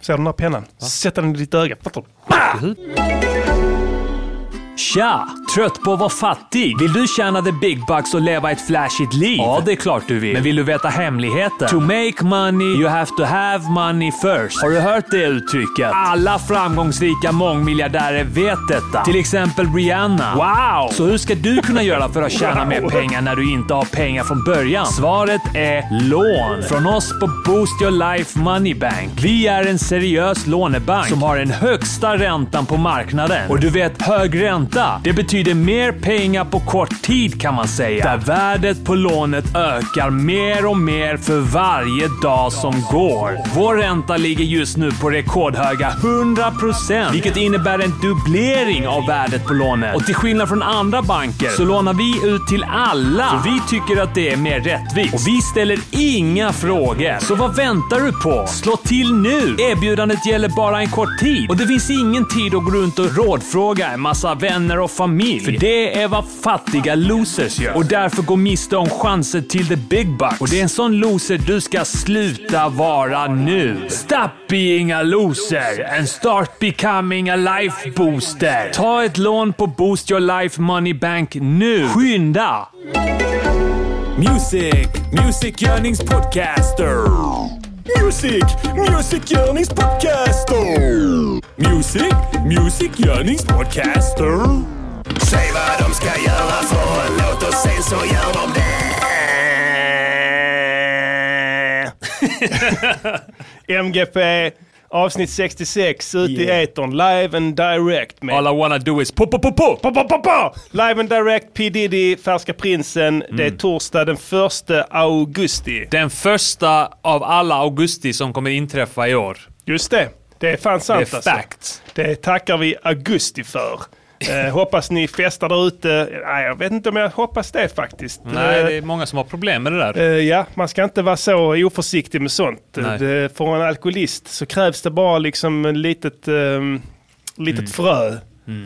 Ser du den här pennan? Sätter den i ditt öga. Fattar du? Bah! Tja! Trött på att vara fattig? Vill du tjäna the big bucks och leva ett flashigt liv? Ja, det är klart du vill. Men vill du veta hemligheten? To make money, you have to have money first. Har du hört det uttrycket? Alla framgångsrika mångmiljardärer vet detta. Till exempel Rihanna. Wow! Så hur ska du kunna göra för att tjäna mer pengar när du inte har pengar från början? Svaret är lån. Från oss på Boost Your Life Money Bank. Vi är en seriös lånebank som har den högsta räntan på marknaden. Och du vet, hög ränta, det betyder mer pengar på kort tid kan man säga. Där värdet på lånet ökar mer och mer för varje dag som går. Vår ränta ligger just nu på rekordhöga 100% vilket innebär en dubblering av värdet på lånet. Och till skillnad från andra banker så lånar vi ut till alla. För vi tycker att det är mer rättvist. Och vi ställer inga frågor. Så vad väntar du på? Slå till nu! Erbjudandet gäller bara en kort tid och det finns ingen tid att gå runt och rådfråga en massa vänner och familj. För det är vad fattiga losers gör. Och därför går miste om chanser till the big bucks. Och det är en sån loser du ska sluta vara nu. Stop being a loser and start becoming a life booster. Ta ett lån på Boost Your Life Money Bank nu. Skynda! Music, Music Yearnings Podcaster. Music, Music Yearnings Podcaster. Music, Music Yearnings Podcaster. Säg vad de ska göra för en låt och sen så gör de det. MGP avsnitt 66 ut i Yeah. etern. Live and direct med... All I wanna do is pop, pop, pop, pop. Pa, pa, pa, pa! Live and direct, P Diddy, Färska Prinsen. Mm. Det är torsdag den 1 augusti. Den första av alla augusti som kommer inträffa i år. Just det. Det är fan sant alltså. Det är fact. Det tackar vi augusti för. Eh, hoppas ni festar där ute. Nej, jag vet inte om jag hoppas det faktiskt. Nej, Eh, det är många som har problem med det där. Eh, ja, man ska inte vara så oförsiktig med sånt. Eh, Nej. Det, för en alkoholist så krävs det bara liksom en litet, ehm, litet Mm. frö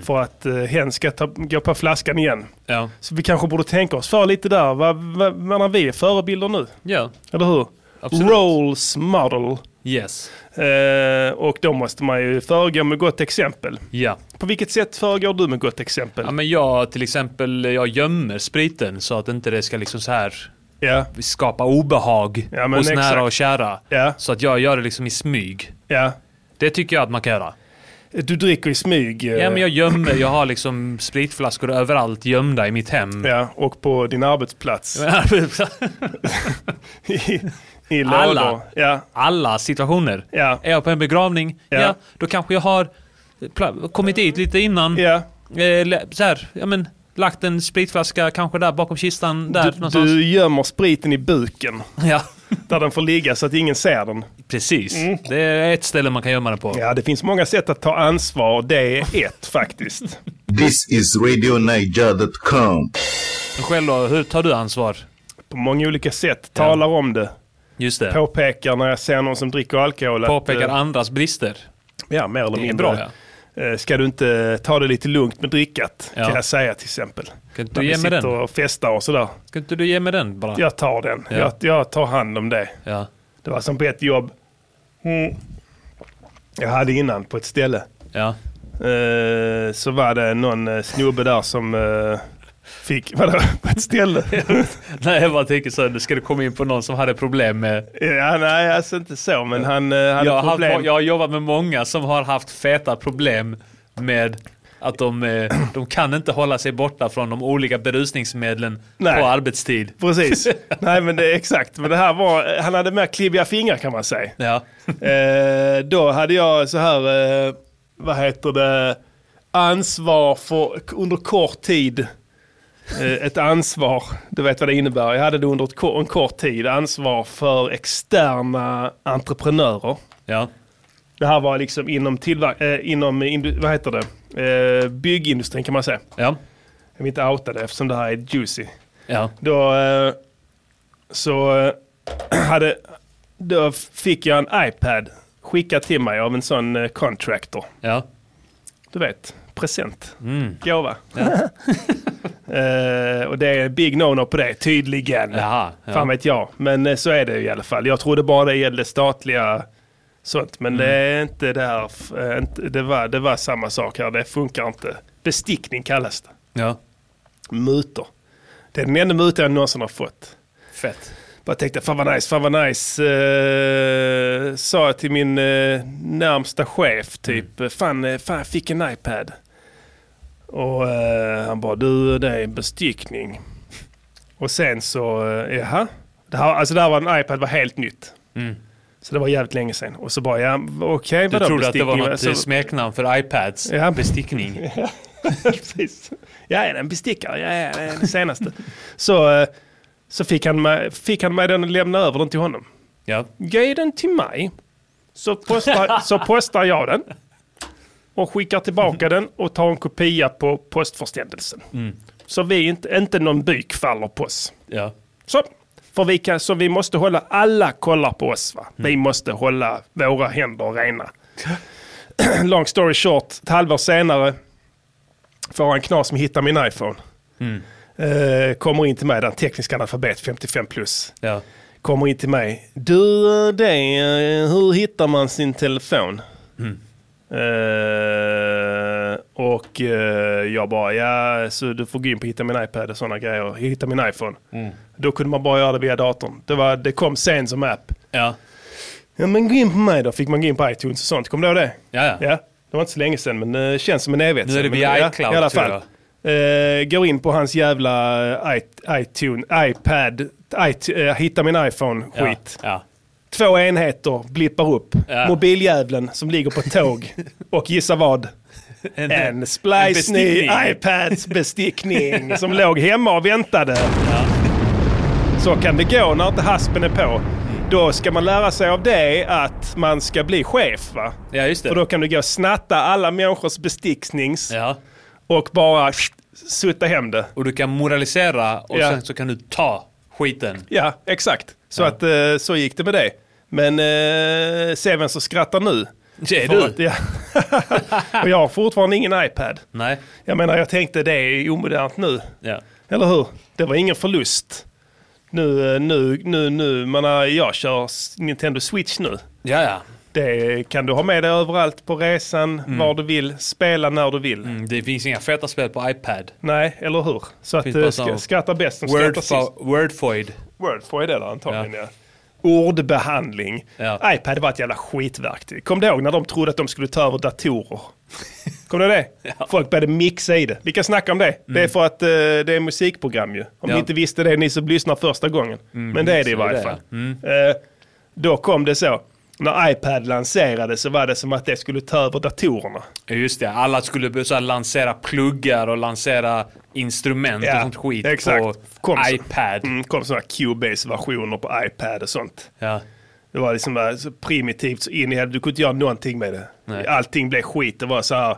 för att uh, hen ska ta, gå på flaskan igen. Ja. Så vi kanske borde tänka oss för lite där. Vad, vad, vad vi är förebilder nu, ja, eller hur? absolut. Rolls model. Yes. Eh, och då måste man ju föregå med gott exempel. Ja. På vilket sätt föregår du med gott exempel? ja, men jag till exempel, jag gömmer spriten så att inte det ska liksom så här Ja, skapa obehag Ja, men hos nära exakt. och kära. ja, Så att jag gör det liksom i smyg. ja. Det tycker jag att man kan göra. Du dricker i smyg. eh, Ja, men jag gömmer, jag har liksom spritflaskor överallt gömda i mitt hem. eh, ja, och på din arbetsplats. i, i Alla. lådor. Ja, alla situationer. ja, Är jag på en begravning, ja, Ja. då kanske jag har pla- kommit dit lite innan. ja. Eh, lä- så här, ja men, lagt en spritflaska kanske där bakom kistan där Du, någonstans. du gömmer spriten i buken Ja, där den får ligga så att ingen ser den. precis. Mm. Det är ett ställe man kan gömma den på. Ja, det finns många sätt att ta ansvar och det är ett faktiskt. This is RadioNiger.com. Men Själv då, hur tar du ansvar? På många olika sätt. Talar om det. Just det. Påpekar när jag ser någon som dricker alkohol. att, Påpekar eh, andras brister. Ja, mer eller Det är mindre. bra ja. Eh, Ska du inte ta det lite lugnt med drickat? Ja. Kan jag säga till exempel. Kan När inte du vi ge mig sitter den? och festar och sådär. Kan inte du ge mig den bara? Jag tar den. Ja. Jag, jag tar hand om det. Ja. Det var som på ett jobb. Mm. Jag hade innan på ett ställe. ja. Eh, så var det någon eh, snubbe där som eh, fick, vadå, på ett ställe? Nej, jag bara tänker så här, nu ska du komma in på någon som hade problem med ja, nej, alltså inte så, men han eh, hade jag har, problem. haft, jag har jobbat med många som har haft feta problem med att de, eh, de kan inte hålla sig borta från de olika berusningsmedlen Nej. på arbetstid. Precis. nej, men det är exakt. Men det här var, eh, han hade mer klibbiga fingrar kan man säga. Ja. Eh, då hade jag så här, eh, vad heter det, ansvar för, under kort tid. Eh, ett ansvar, du vet vad det innebär. Jag hade det under ett, ko- en kort tid, ansvar för externa entreprenörer. ja. Det här var liksom inom, tillverk- eh, inom indu- vad heter det? Eh, byggindustrin kan man säga. Ja. Jag vill inte outa det eftersom det här är juicy. Ja. Då eh, så eh, hade, då fick jag en iPad skickad till mig av en sån eh, contractor. Ja. Du vet, present, Mm. gåva. eh, och det är big no-no på det, tydligen. Jaha. Fan Ja. vet jag, men eh, så är det ju i alla fall. Jag trodde bara det gällde statliga sånt. Mm. Men det är inte där, f- eh, inte- det var, det var samma sak här, det funkar inte. Bestickning kallas det. Ja. Mutor. Det är den enda muta jag någonsin har fått. Fett. Bara tänkte, fan vad nice, fan vad nice. Eh, sa jag till min eh, närmsta chef, typ, Mm. fan, eh, fan jag fick en iPad. Och eh, han bara, du det är en bestickning. Och sen så, eh, jaha. Det här, alltså det här var en iPad, var helt nytt. Så det var jävligt länge sedan. Och så bara, ja okej, Mm. Du vadå trodde att det var bestickning? något eh, Så- eh, smeknamn för iPads? Ja. Bestickning? Precis. Jag är en bestickare, jag är den senaste. så eh, så fick, han mig, fick han mig den och lämnade över den till honom. Ja. Ge den till mig, så postar, så postar jag den. Och skickar tillbaka den och tar en kopia på postförsändelsen. Så vi inte, inte någon byk faller på oss. ja. Så. För vi kan, så vi måste hålla, alla kollar på oss va? Vi måste hålla våra händer rena. Long story short, ett halvår senare får han knas som hittar min iPhone. Eh, kommer in till mig, den tekniska analfabet 55 plus. ja. Kommer in till mig. Du, eh, det, eh, hur hittar man sin telefon? Mm. Eh, och eh, jag bara, ja, så du får gå in på hitta min iPad och sådana grejer. Hitta min iPhone. Mm. Då kunde man bara göra det via datorn. Det, var, det kom sen som app. Ja. Ja, men gå in på mig då. Fick man gå in på iTunes och sånt. Kommer du ihåg det? Ja, ja. Det var inte så länge sedan, men det känns som en evighet Nu är det sedan. via Men, ja, iCloud, I alla tror fall. Eh, går in på hans jävla eh, i- iTunes, iPad, it, eh, hitta min Ja. iPhone-skit. Ja. Två enheter blippar upp. Ja. Mobiljävlen som ligger på ett tåg. och gissa vad? En, En splice ny bestickning. iPads bestickning som låg hemma och väntade. Så kan det gå när inte haspen är på. Mm. Då ska man lära sig av det att man ska bli chef va? Ja, just För då det. kan du gå och snatta alla människors besticknings Ja. och bara sht, sutta hem det. Och du kan moralisera och Ja. sen så kan du ta skiten. Ja, exakt. Så, att, eh, så gick det med det. Men eh, se vem som skrattar nu. Det är För du. att jag- och jag har fortfarande ingen iPad. Nej. Jag menar, jag tänkte det är omodernt nu. Ja. Eller hur? Det var ingen förlust. Nu, eh, nu, nu, nu, man har, jag kör s- Nintendo Switch nu. Ja, ja. Det kan du ha med dig överallt på resan, var du vill, spela när du vill. Mm, Det finns inga feta spel på iPad. Nej, eller hur? Så att Finns bara eh, så- sk- skratta bäst som skrattar sist. Wordfo- Wordfoid. Word får jag det där antagligen, ja. Ordbehandling. Ja. iPad var ett jävla skitverktyg. Kom du ihåg när de trodde att de skulle ta över datorer? Kommer du ihåg det? Folk började mixa i det. Vi kan snacka om det. Det är för att eh, det är musikprogram ju. Om Mm. Ja. ni inte visste det, ni som lyssnar första gången. Men det är det i så är varje det, Mm. fall. Eh, då kom det så. När iPad lanserades så var det som att det skulle ta över datorerna. Ja, Just det, alla skulle börja så här lansera pluggar och lansera instrument och sånt skit exakt. på Kom så- iPad. Mm, kom sådana Cubase-versioner på iPad och sånt. Ja. Det var liksom bara så primitivt så in i helvete. Du kunde inte göra någonting med det. Nej. Allting blev skit. Det var så här.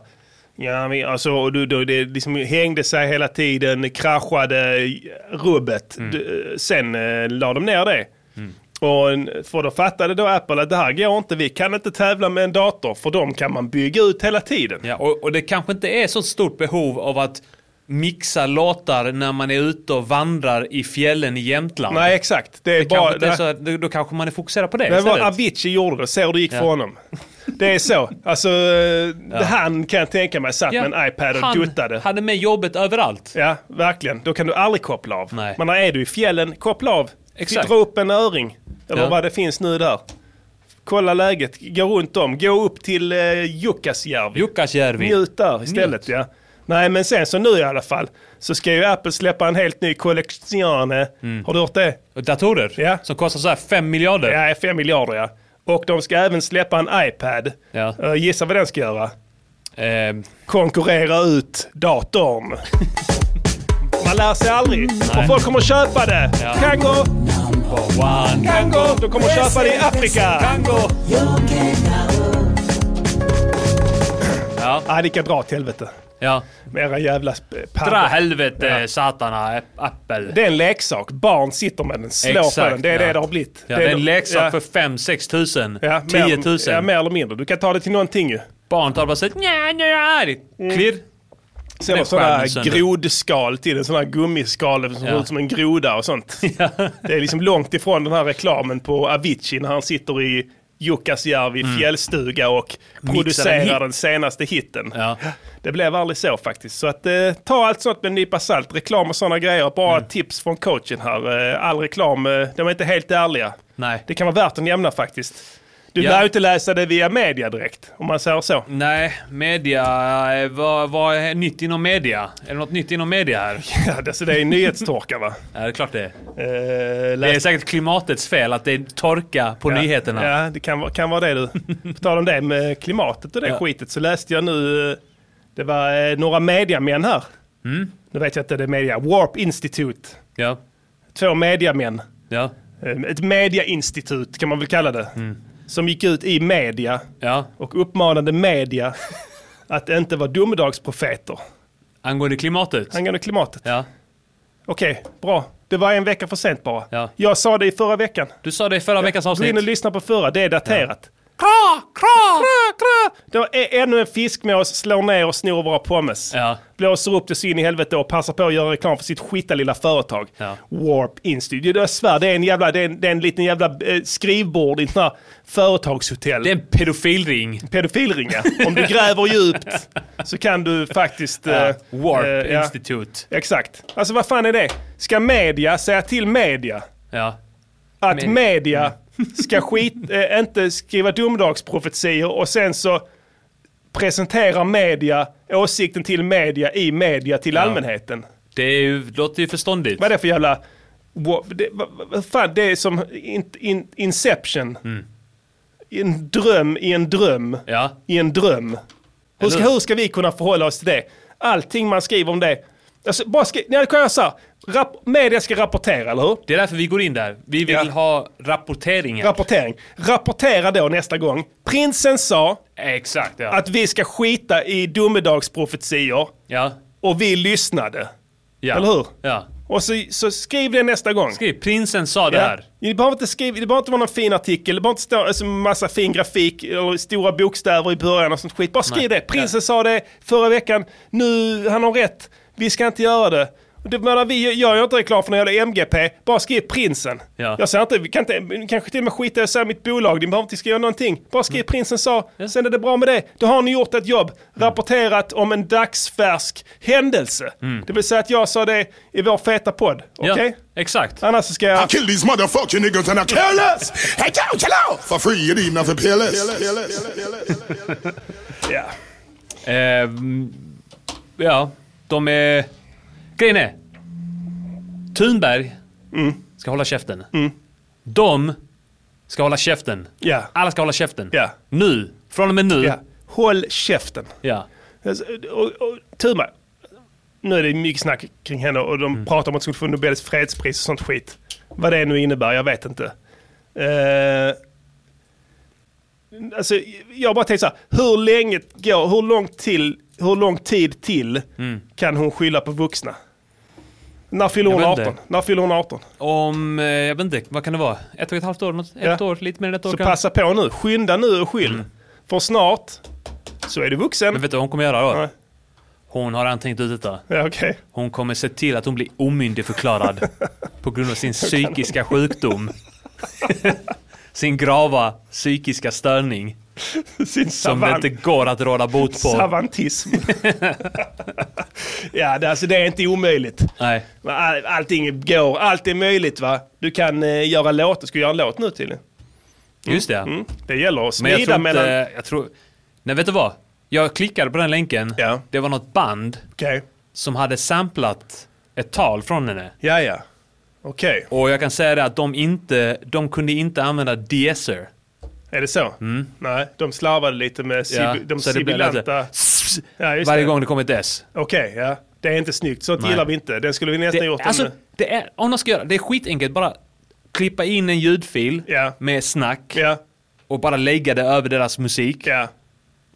Ja, men alltså, och du, du, det liksom hängde sig hela tiden, kraschade rubbet. Mm. Du, sen eh, la de ner det. Och en- för då fattade då Apple att det här går inte. Vi kan inte tävla med en dator för de kan man bygga ut hela tiden. Ja, och, och det kanske inte är så stort behov av att mixa låtar när man är ute och vandrar i fjällen i Jämtland. Nej, exakt. Det är det bara... kanske inte är det- så, att- då- då kanske man är fokuserad på det Det var istället. Avicii gjorde det, se hur det gick för honom. Det är så. Alltså, eh, han kan jag tänka mig satt Ja, med en iPad och han duttade. hade med jobbet överallt. Ja, verkligen. Då kan du aldrig koppla av. Nej. Men när är du i fjällen, koppla av. Exakt. Dra upp en öring, eller Ja. vad det finns nu där. Kolla läget, gå runt om, gå upp till eh, Jukkasjärvi. Jukkasjärvi. Njut där istället ja. Nej men sen så nu i alla fall så ska ju Apple släppa en helt ny kollektion. eh. Mm. Har du hört det? Och Datorer Ja. som kostar så här 5 miljarder. Ja, 5 miljarder ja. Och de ska även släppa en iPad. Ja. Eh, Gissa vad den ska göra? Eh, konkurrera ut datorn. Man lär sig aldrig. Och folk kommer köpa det. Ja. Kango, one. kango. De kommer köpa det i Afrika. Tango. Ja, Nej, det kan dra åt helvete. ja. Med era jävla sp- Dra paddor. helvete Ja. satana ä- appel. Det är en leksak. Barn sitter med den, slår på Exakt, den. Det är ja. det det har blivit. Ja, det är en leksak ja, för 5-6 tusen. ja, 10 mer, Ja, 000. mer eller mindre. Du kan ta det till någonting ju. Barn tar bara såhär nja, nja, arg. Mm. Klirr. Sen har är sådana skärmen sönder. grodskal till en sån här gummiskal som Ja. ser ut som en groda och sånt. Det är liksom långt ifrån den här reklamen på Avicii när han sitter i Jukkasjärvi fjällstuga och Mm. en producerar hit. den senaste hitten. Ja. Det blev aldrig så faktiskt. Så att eh, ta allt sånt med en nypa salt. Reklam och sådana grejer. Bara Mm. tips från coachen här. Eh, all reklam, eh, de är inte helt ärliga. Nej. Det kan vara värt att nämna faktiskt. Du Ja. lär ju inte läsa det via media direkt, om man säger så. Nej, media. eh, Vad, vad är nytt inom media? Är det något nytt inom media här? Ja, alltså, det- så det är nyhetstorka va? Ja, det är klart det är. Eh, Det är läs- säkert klimatets fel att det är torka på nyheterna. Ja, det kan, vara- kan vara det du. På tal om det med klimatet och det Ja. skitet så läste jag nu, eh, det var eh, några mediamän här. Mm. Nu vet jag inte, det är media. Warp Institute. Ja. Två mediamän. Ja. Eh, Ett mediainstitut kan man väl kalla det. Mm. Som gick ut i media ja. och uppmanade media att inte vara domedagsprofeter Angående klimatet. angående klimatet. Ja. Okej, bra. Det var en vecka för sent bara. Ja. Jag sa det i förra veckan. Du sa det i förra veckans Gå in och avsnitt. lyssna på förra, det är daterat. Kra, kra, kra, kra. Då är ännu en fiskmås slår ner och snor våra pommes. Ja. Blåser upp det så in i helvete och passar på att göra reklam för sitt skita lilla företag. Ja. Warp Institute. Jag svär, det är en jävla, det är en, det är en liten jävla eh, skrivbord i ett sånt här företagshotell. Det är en pedofilring. Eh, Pedofilringar. Om du gräver djupt så kan du faktiskt... eh, Ja. Warp eh, ja. Institute. Exakt. Alltså vad fan är det? Ska media säga till media? Ja. att Media. media Mm. ska skit, eh, inte skriva domedagsprofetior och sen så presenterar media åsikten till media i media till allmänheten. Det är ju, låter ju förståndigt. Vad är det för jävla... Wow, det, vad, vad fan, det är som in, in, Inception. I En dröm i en dröm Mm. Ja. i en dröm. Hur ska, Eller hur? hur ska vi kunna förhålla oss till det? Allting man skriver om det. Alltså, bara skri- Nej, det kan jag säga. Rap- media ska rapportera, eller hur? Det är därför vi går in där. Vi vill Ja. ha rapporteringar. Rapportering. Rapportera då nästa gång. Prinsen sa Exakt, ja. att vi ska skita i domedagsprofetior ja. och vi lyssnade. ja. Eller hur? Ja. Och så, så skriv det nästa gång. Skriv, prinsen sa det Ja. här. Det behöver inte skriva, det behöver inte vara någon fin artikel, det behöver inte stå alltså, massa fin grafik eller stora bokstäver i början och sånt skit. Bara skriv Nej. det. Prinsen sa det förra veckan, nu, han har rätt, vi ska inte göra det. Det menar vi, jag gör inte reklam för någon jävla MGP, bara skriv prinsen. Ja. Jag säger inte, vi kan inte, kanske till och med skita i att säga mitt bolag, ni behöver inte skriva någonting. Bara Mm. skriv prinsen sa, sen är det bra med det. Då har ni gjort ett jobb, rapporterat om en dagsfärsk händelse. Det vill säga att jag sa det i vår feta podd, okej? Mm. Ja. Exakt. Annars så ska jag... I kill these motherfucking niggas and I care less. Hey, yo, chill out. For free, it ain't nothing peerless. Ja. Ehm, ja, de är... Grejen är... Thunberg Mm. ska hålla käften. De ska hålla käften. Ja. Alla ska hålla käften. Ja. Nu. Från och med nu. Ja. Håll käften. Ja. Alltså, Och, och, Thunberg, nu är det mycket snack kring henne och de Mm. pratar om att hon skulle få Nobels fredspris och sånt skit. Vad det nu innebär, jag vet inte. Uh, alltså, jag bara tänker så här, hur länge går, hur lång, till, hur lång tid till kan hon skylla på vuxna? När fyller hon Mm. Jag vet inte. 18? När fyller hon 18? Om, eh, jag vet inte, vad kan det vara? Ett och ett halvt år? Något, Ett Ja. år? Lite mer än ett år Så kanske? passa på nu, skynda nu och skyll. För snart så är du vuxen. Men Mm. vet du vad hon kommer göra då? Nej. Hon har redan tänkt ut detta. Ja, okej. Hon kommer se till att hon blir omyndigförklarad på grund av sin psykiska sjukdom. sin grava psykiska störning Sin som det savant- inte går att råda bot på. Savantism. ja, det, alltså, det är inte omöjligt. Nej. Men All, allting går, allt är möjligt va. Du kan eh, göra låt, du ska göra en låt nu till. Just det. Mm. Det gäller att Men jag smida tror mellan... inte... Jag tror, nej, vet du vad? Jag klickade på den länken. Ja. Det var något band Okej. som hade samplat ett tal från henne. Ja, ja. Okej, Och jag kan säga det att de inte, de kunde inte använda deesser. är det så? Nej, de slarvade lite med sib- Mm. Ja, de så det blir sibilanta... Ja, just Varje det. gång det kom ett s. Okej, ja. Det är inte snyggt. Sånt Nej. gillar vi inte. Den skulle vi nästan Det, gjort. om- alltså, det är, om de ska göra, det är skitenkelt. Bara klippa in en ljudfil Ja. med snack ja, och bara lägga det över deras musik. ja.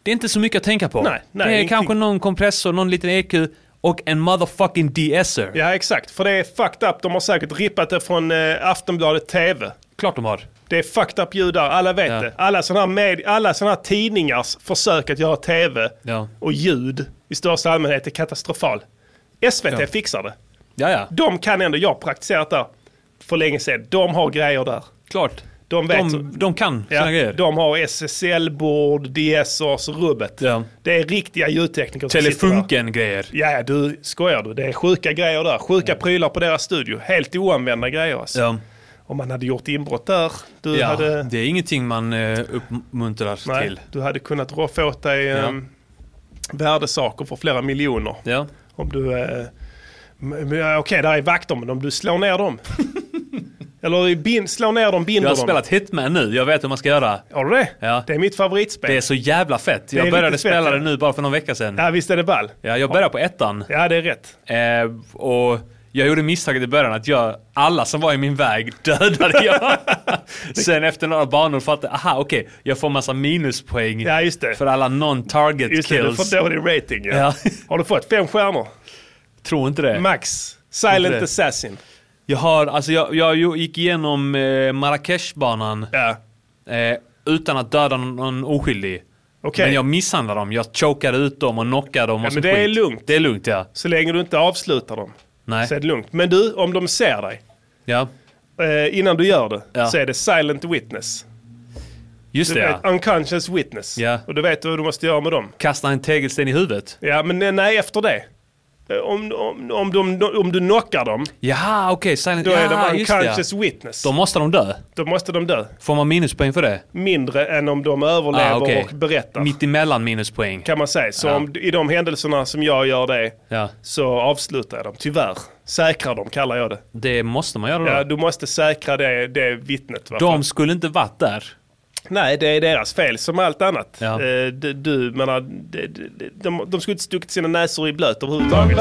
Det är inte så mycket att tänka på. Nej, nej, det är ingenting. kanske någon kompressor, någon liten EQ och en motherfucking de-esser. Ja, exakt. För det är fucked up. De har säkert rippat det från eh, Aftonbladet TV. Klart de har. Det är fucked up ljud där, alla vet Ja. det. Alla sådana här, med, alla såna här tidningars försök att göra tv Ja. och ljud i största allmänhet är katastrofal. SVT Ja. fixar det. Ja, ja. De kan ändå, jag har praktiserat där för länge sedan, de har grejer där. Klart. De vet. De, de kan sina ja, grejer. de har SSL-bord, DSRs, rubbet. Ja. Det är riktiga ljudtekniker som sitter där. Telefunken-grejer. Ja, ja, du skojar du. Det är sjuka grejer där. Sjuka prylar på deras studio. Helt oanvända grejer alltså. Ja. Om man hade gjort inbrott där, du Ja, hade... det är ingenting man eh, uppmuntrar Nej, till. Du hade kunnat roffa åt dig eh, värdesaker för flera miljoner. Ja. Om du... Eh, men, ja, Okej, där är vakter, men om du slår ner dem. Eller i bin, slår ner dem, binder Jag dem. har spelat Hitman nu, jag vet hur man ska göra. Har du det? Ja. Det är mitt favoritspel. Det är så jävla fett. är Jag riktigt började fett, spela ja. det nu bara för någon vecka sedan. Ja, visst är det ball? Ja, jag började på ettan. Ja, det är rätt. Eh, och jag gjorde misstaget i början att jag, alla som var i min väg dödade jag. Sen efter några banor fattade jag, aha okej, jag får massa minuspoäng Ja, just det. för alla non-target Just det, du kills. får dålig rating. Ja. Ja. Har du fått fem stjärnor? Tror inte det. Max. Silent det. Assassin. Jag, har, alltså jag, jag gick igenom eh, Marrakeshbanan Ja. eh, utan att döda någon, någon oskyldig. Okej. Men jag misshandlade dem, jag chokade ut dem och knockade dem och Ja, så men det är skit. lugnt. Det är lugnt ja. Så länge du inte avslutar dem. Nej. Så är det lugnt. Men du, om de ser dig. ja. Eh, innan du gör det Ja. så är det silent witness. Just Du det vet, ja. unconscious witness. Ja. Och du vet vad du måste göra med dem. Kasta en tegelsten i huvudet. Ja, men nej, nej efter det. Eh, Om, om, om, de, om du knockar dem, Jaha okej, silent... då ja, är de just det, ja. unconscious witness. Då måste de dö. Då måste de dö. Får man minuspoäng för det? Mindre än om de överlever Ah, okej. och berättar. Mitt emellan minuspoäng. Kan man säga. Så Ja. om, i de händelserna som jag gör det Ja, så avslutar jag dem. Tyvärr. Säkrar dem kallar jag det. det måste man göra då. Ja, du måste säkra det, det vittnet. va? de skulle inte varit där. Nej, det är deras fel som allt annat. Ja. Eh, du, du menar, de, de, de, de skulle inte stuckit sina näsor i blöt överhuvudtaget.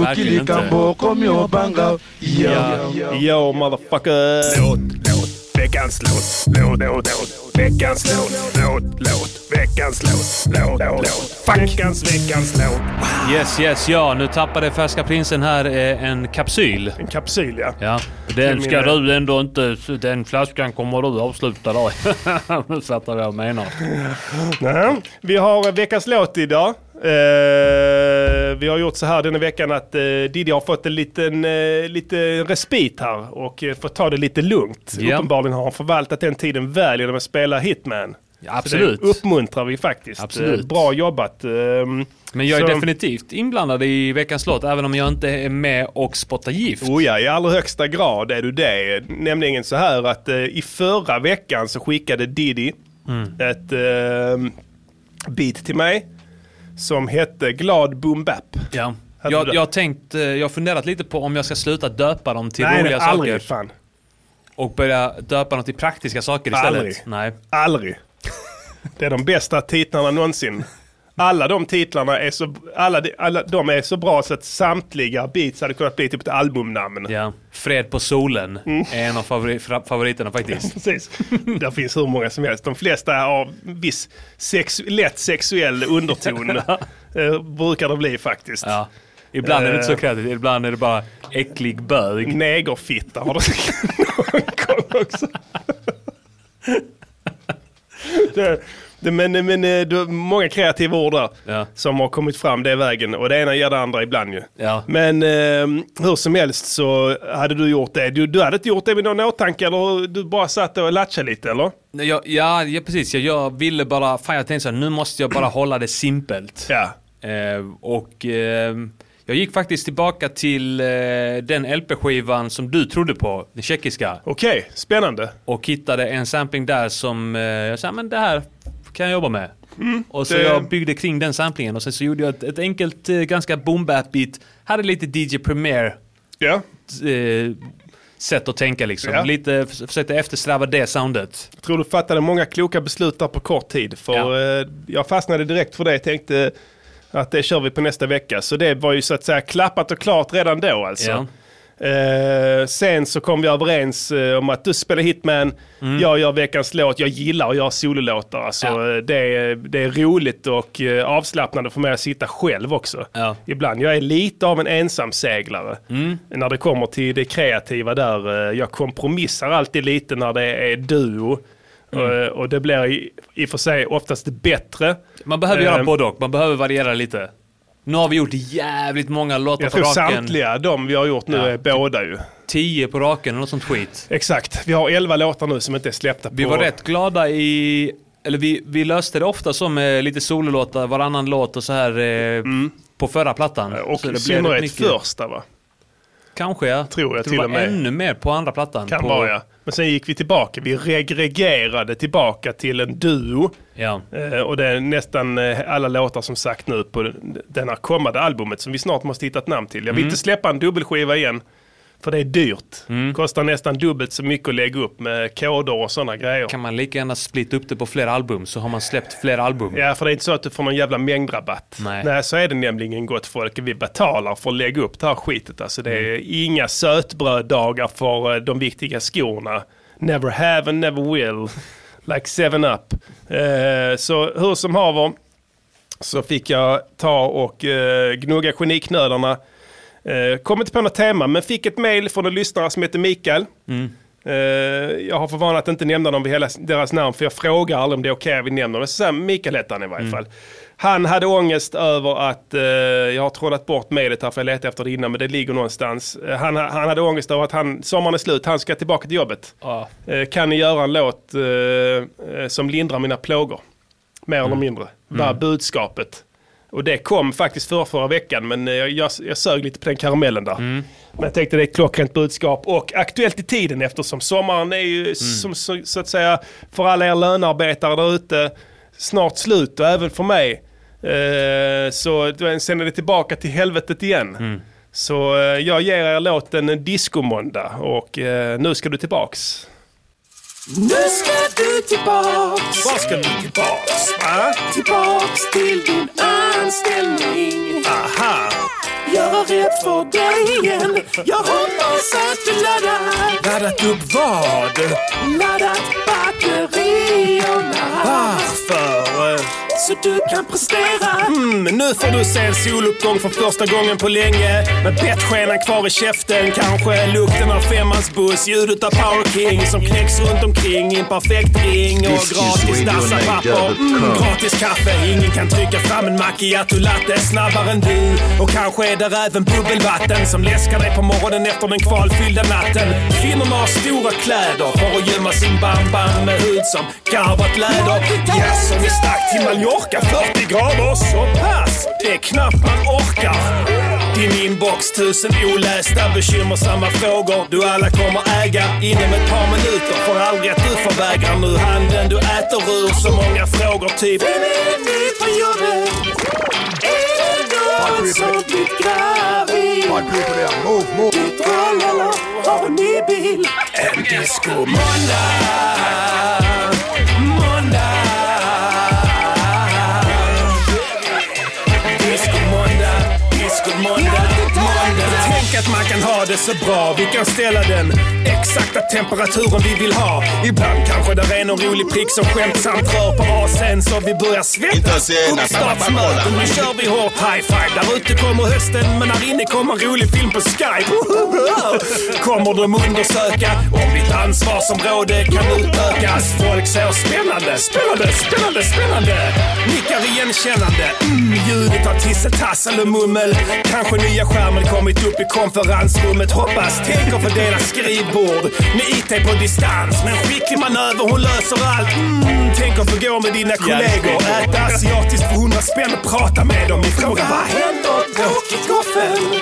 Verkligen inte. Yo motherfucker! Låt, låt, veckans låt, låt, låt, låt, veckans låt, låt, låt, veckans låt, låt, låt, låt, fuck. Veckans, veckans låt. Yes, yes, ja. Nu tappade Färska Prinsen här eh, en kapsyl. En kapsyl ja. Ja, den ska min- du ändå inte... Den flaskan kommer du avsluta då. nu fattar jag vad jag menar. Nej. Vi har en veckans låt idag. Eh, vi har gjort så här denna veckan att eh, Diddy har fått en liten, eh, lite respit här och eh, fått ta det lite lugnt. Ja. Uppenbarligen har han förvaltat den tiden väl genom att spela Hitman. Ja, Så absolut. Det uppmuntrar vi faktiskt. Absolut. Eh, Bra jobbat. Ehm, Men jag är så- definitivt inblandad i veckans låt, även om jag inte är med och spottar gift. Oh ja, i allra högsta grad är du det. Nämligen så här att eh, i förra veckan så skickade Diddy Mm. ett eh, beat till mig som hette Glad Boom Bap. Ja. Hade du Jag, det? jag, har tänkt, eh, jag har funderat lite på om jag ska sluta döpa dem till Nej, roliga nej, aldrig. saker Fan. och börja döpa dem till praktiska saker istället. Aldrig. Nej. Aldrig. Det är de bästa titlarna någonsin. Alla de titlarna är så, alla, de- alla, de är så bra så att samtliga beats hade kunnat bli typ ett albumnamn. Ja. Fred på solen är en av favori- fra- favoriterna faktiskt. Precis. Där finns hur många som helst. De flesta har viss sex, lätt sexuell underton. eh, brukar det bli faktiskt. Ja. Ibland är det inte så Eh. kreddigt, ibland är det bara äcklig bög. Negerfitta har de någon gång också. det, det, men men eh, det är många kreativa ord där Ja. som har kommit fram den vägen. Och det ena ger det andra ibland ju. Ja. Men eh, hur som helst så hade du gjort det. Du, du hade inte gjort det med någon åtanke eller du bara satt och latchade lite eller? Nej, Jag, ja, ja, precis. Jag, jag ville bara, fan jag tänkte så här, nu måste jag bara hålla det simpelt. Ja. Eh, och eh, jag gick faktiskt tillbaka till eh, den LP-skivan som du trodde på, den tjeckiska. Okej, spännande. Och hittade en sampling där som eh, jag sa, men det här kan jag jobba med. och så Mm, det- jag byggde kring den samplingen och sen så gjorde jag ett, ett enkelt, eh, ganska boom bap beat Hade lite DJ Premiere Ja, eh, sätt att tänka liksom. Ja. Lite, förs- försökte eftersträva det soundet. tror du fattade många kloka beslut där på kort tid. För eh, jag fastnade direkt för det. Jag tänkte att det kör vi på nästa vecka. Så det var ju så att säga klappat och klart redan då alltså. Ja. Eh, sen så kom vi överens eh, om att du spelar Hitman, Mm. jag gör veckans låt, jag gillar att göra sololåtar. Alltså, Ja. eh, det, är, det är roligt och eh, avslappnande för mig att sitta själv också. Ja. Ibland, jag är lite av en ensamseglare Mm. när det kommer till det kreativa där. eh, Jag kompromissar alltid lite när det är duo. Mm. Eh, Och det blir i, i och för sig oftast bättre. Man behöver Eh, göra både och, man behöver variera lite. Nu har vi gjort jävligt många låtar Jag på tror raken. samtliga de vi har gjort nu Ja. är båda ju. 10 på raken eller något sånt skit. Exakt. Vi har 11 låtar nu som inte är släppta på... Vi var rätt glada i... Eller vi, vi löste det ofta som eh, lite sololåtar, varannan låt och så här eh, på förra plattan. Mm. Eh, Och så i rätt synnerhet mycket. första va? Kanske ja. Tror jag det till var och med. ännu mer på andra plattan. Kan på, vara ja. Men sen gick vi tillbaka. Vi regregerade tillbaka till en duo. ja. Eh, Och det är nästan eh, alla låtar som sagt nu på den- den här kommande albumet som vi snart måste hitta ett namn till. Jag vill inte släppa en dubbelskiva igen. För det är dyrt. Kostar nästan dubbelt så mycket att lägga upp med koder och sådana grejer. Kan man lika gärna splitta upp det på fler album så har man släppt fler album. Ja, för det är inte så att du får någon jävla mängdrabatt. Nej. så är det nämligen gott folk. Vi betalar för att lägga upp det här skitet. Alltså, det är inga sötbröddagar för eh, de viktiga skorna. Never have and never will. Like seven up. Eh, så hur som haver så fick jag ta och eh, gnugga geniknölarna. Eh, kom inte på något tema, men fick ett mail från en lyssnare som heter Mikael. Eh, jag har för vana att inte nämna dem vid hela deras namn, för jag frågar aldrig om det är okej att vi nämner dem. Men så här, Mikael hette han i varje fall. Han hade ångest över att, eh, jag har trollat bort mejlet här för jag letade efter det innan, men det ligger någonstans. Eh, han, han hade ångest över att han, sommaren är slut, han ska tillbaka till jobbet. Ja. Eh, kan ni göra en låt eh, eh, som lindrar mina plågor? Mer eller mindre. Var budskapet. Och det kom faktiskt för förra veckan, men eh, jag, jag, jag sög lite på den karamellen där. Men jag tänkte det är ett klockrent budskap och aktuellt i tiden eftersom sommaren är ju som, så, så att säga för alla er lönearbetare där ute snart slut och även för mig. Eh, så då är- sen är det tillbaka till helvetet igen. Så eh, jag ger er låten en discomåndag och eh, nu ska du tillbaks. Nu ska du tillbaks, Var ska du tillbaks? Va? tillbaks till din anställning. Aha! Jag var rädd för dig igen. Jag hoppas att du laddar, Laddat upp vad? laddat batterierna. Varför? Eh, Så du kan prestera. Mm, nu får du se en soluppgång för första gången på länge. Med bettskenan kvar i käften kanske. Lukten av femmansbuss, ljudet av Power King som knäcks runt omkring i en perfekt ring. Och This is gratis Radio dassapapper, Niger.com. mm, gratis kaffe. Ingen kan trycka fram en macchiato latte snabbare än du. Och kanske är där även bubbelvatten som läskar dig på morgonen efter den kvalfyllda natten. Kvinnorna har stora kläder för att gömma sin bamban med hud som garvat läder. Jaså, vi stack till Mallorca 40 grader så pass. Det är knappt man orkar. Din inbox tusen olästa bekymmersamma frågor du alla kommer äga inom ett par minuter. Får aldrig att du förvägrar nu handen du äter ur. Så många frågor typ Vem är ny på jobbet? Är det någon som blivit gravid? Ditt val eller har en ny bil? En disco måndag, måndag. Disco måndag, disco måndag, måndag. Tänk att man kan ha det så bra. Vi kan ställa den exakta temperaturen vi vill ha. Ibland kanske det är någon rolig prick som skämtsamt rör på AC'n så vi börjar Inte svettas. sena. Uppstartsmöten, nu kör vi hårt high-five. Där ute kommer hösten, men här inne kommer en rolig film på Skype. Kommer de undersöka om mitt ansvarsområde kan utökas? Folk ser spännande, spännande, spännande, spännande. Nickar igenkännande. Mm, ljudet av tissetassel och mummel. Kanske nya skärmen kommit upp i konferensrummet. Hoppas, tänker fördela skrivbord med IT på distans. Men skicklig manöver, hon löser allt. Mm, tänker förgå med dina kollegor. Äta asiatiskt för hundra spänn och prata med dem. Vi frågar vad händer? Tråkigt goffel.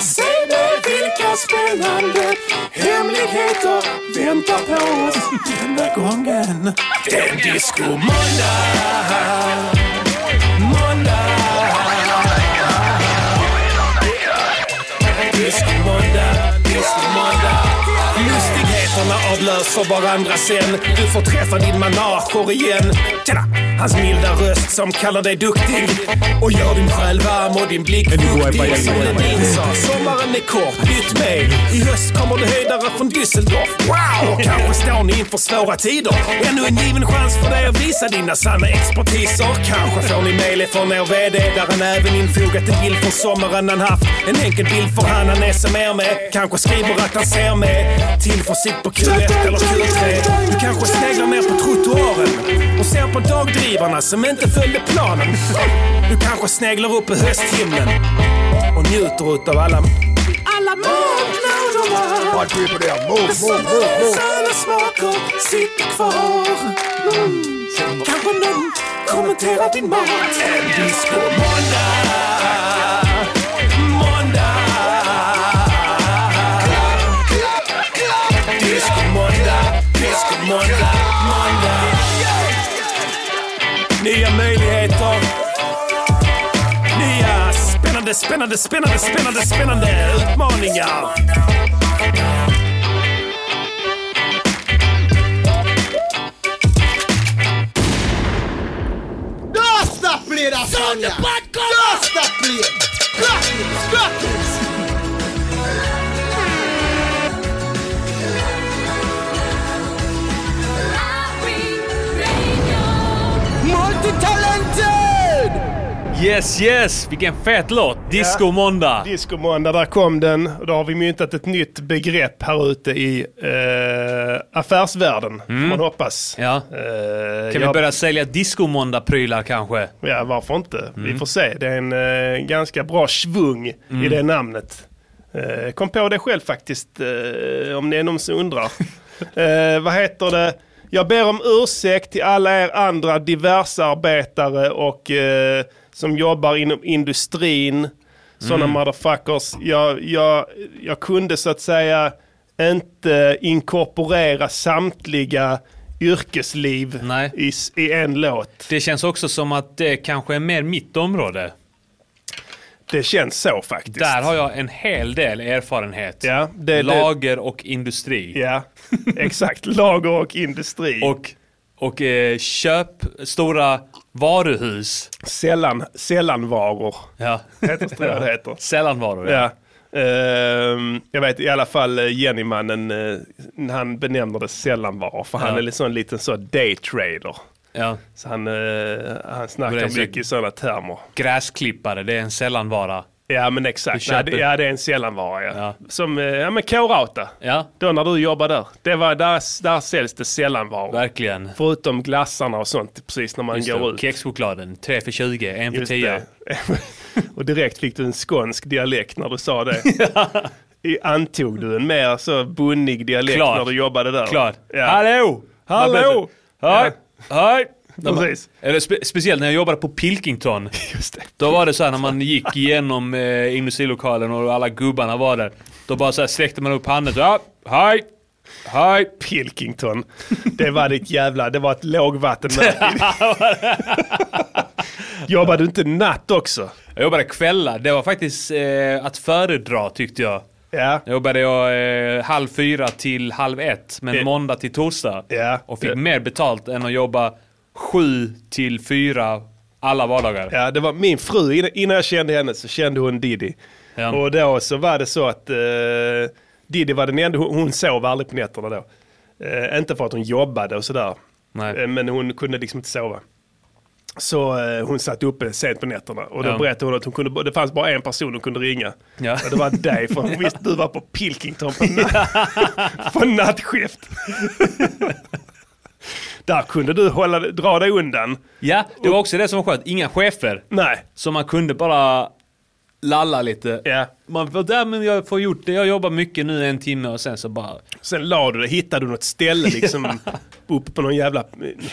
Säg mig vilka spännande hemligheter väntar på oss denna gången. Det är en discomåndag. Måndag. Discomåndag, discomåndag. Lustigheterna avlöser varandra sen. Du får träffa din manager igen. Tjena! Hans milda röst som kallar dig duktig. Och gör din själ varm och din blick fuktig. Som Ledin sa, sommaren är kort. Byt mig. I höst kommer det höjdare från Düsseldorf. Wow! Och kanske står ni inför svåra tider. Ännu en given chans för dig att visa dina sanna expertiser. Kanske får ni mejl från er VD där han även infogat en bild från sommaren han haft. En enkel bild för han han smr med. Kanske skriver att han ser med tillförsikt på Q1 eller Q3. Du kanske sneglar ner på trottoaren och ser på dagdrivarna som inte följde planen. Du kanske sneglar upp i hösthimlen och njuter utav alla alla månaderna på det här. Move, move, move, move. Söner smaker sitter kvar mm. Kanske någon kommenterar din mat En disco Nya möjligheter. Nya spännande, spännande, spännande, spännande, spännande utmaningar. Basta play that song, yeah. Basta play. Crackers, crackers. Multi-talented! Yes, yes! Vilken fet låt! Disco måndag! Discomåndag, där kom den. Och då har vi myntat ett nytt begrepp här ute i eh, affärsvärlden, får man hoppas. Mm. Ja. Eh, Kan vi jag- börja sälja disco måndag prylar kanske? Ja, varför inte? Vi får se. Det är en eh, ganska bra svung i det namnet. Eh, kom på det själv faktiskt, eh, om det är någon som undrar. eh, vad heter det? Jag ber om ursäkt till alla er andra diversarbetare och eh, som jobbar inom industrin. Sådana motherfuckers. Jag, jag, jag kunde så att säga inte inkorporera samtliga yrkesliv Nej. i, s- i en låt. Det känns också som att det kanske är mer mitt område. Det känns så faktiskt. Där har jag en hel del erfarenhet. Ja, det- det- Lager och industri. Ja, exakt. Lager och industri. Och, och eh, köp stora varuhus. sällan, sällanvaror. Ja. Heter tror jag det heter. Sällanvaror. Ja. Ehm, jag vet i alla fall eh, Jennymannen, eh, han benämner det sällanvaror. För han Ja. är liksom en liten så daytrader. ja. Så han, eh, han Och det är snackar så- mycket i sådana termer. Gräsklippare, det är en sällanvara. Ja men Du exakt. Ja köper- det, ja, det är en sällanvara ja. Ja. Som, eh, ja men K-Rauta. Ja, Då när du jobbar där. Det var, där, där säljs det sällanvaror. verkligen. Förutom glassarna och sånt precis när man Just går det. ut. Kexchokladen, 3 för 20, 1 för Just 10. det. och direkt fick du en skånsk dialekt när du sa det. I- Antog du en mer så bunnig dialekt Klart. när du jobbade där? Klart. Ja. Hallå! Hallå! Hej! Hej! Precis. Eller spe speciellt när jag jobbade på Pilkington. Just det. Då var det så här när man gick igenom eh, industrilokalen och alla gubbarna var där. Då bara så här sträckte man upp handen. så, Ja, hej! Hej! Pilkington. Det var ditt jävla, det var ett lågvattenmärke. jobbade du inte natt också? Jag jobbade kvällar. Det var faktiskt eh, att föredra tyckte jag. Ja. Då jobbade jag eh, halv fyra till halv ett, men Eh. måndag till torsdag. Ja. Och fick Eh. mer betalt än att jobba sju till fyra alla vardagar. Ja, det var min fru, innan- innan jag kände henne så kände hon Diddy. Ja. Och då så var det så att eh, Diddy var den enda, hon, hon sov aldrig på nätterna då. Eh, inte för att hon jobbade och sådär. Nej. Eh, men hon kunde liksom inte sova. Så eh, hon satt uppe sent på nätterna och då Ja. berättade hon att hon kunde, det fanns bara en person hon kunde ringa. Ja. Och det var dig, för hon visste att du var på Pilkington på, na- på nattskift. Där kunde du hålla, dra dig undan. Ja, det var också det som var skönt. Inga chefer. Nej, Så man kunde bara lalla lite. Ja. Man var där men jag får gjort det. Jag jobbar mycket nu en timme och sen så bara... Sen la du det, hittade du något ställe liksom uppe på någon jävla eh,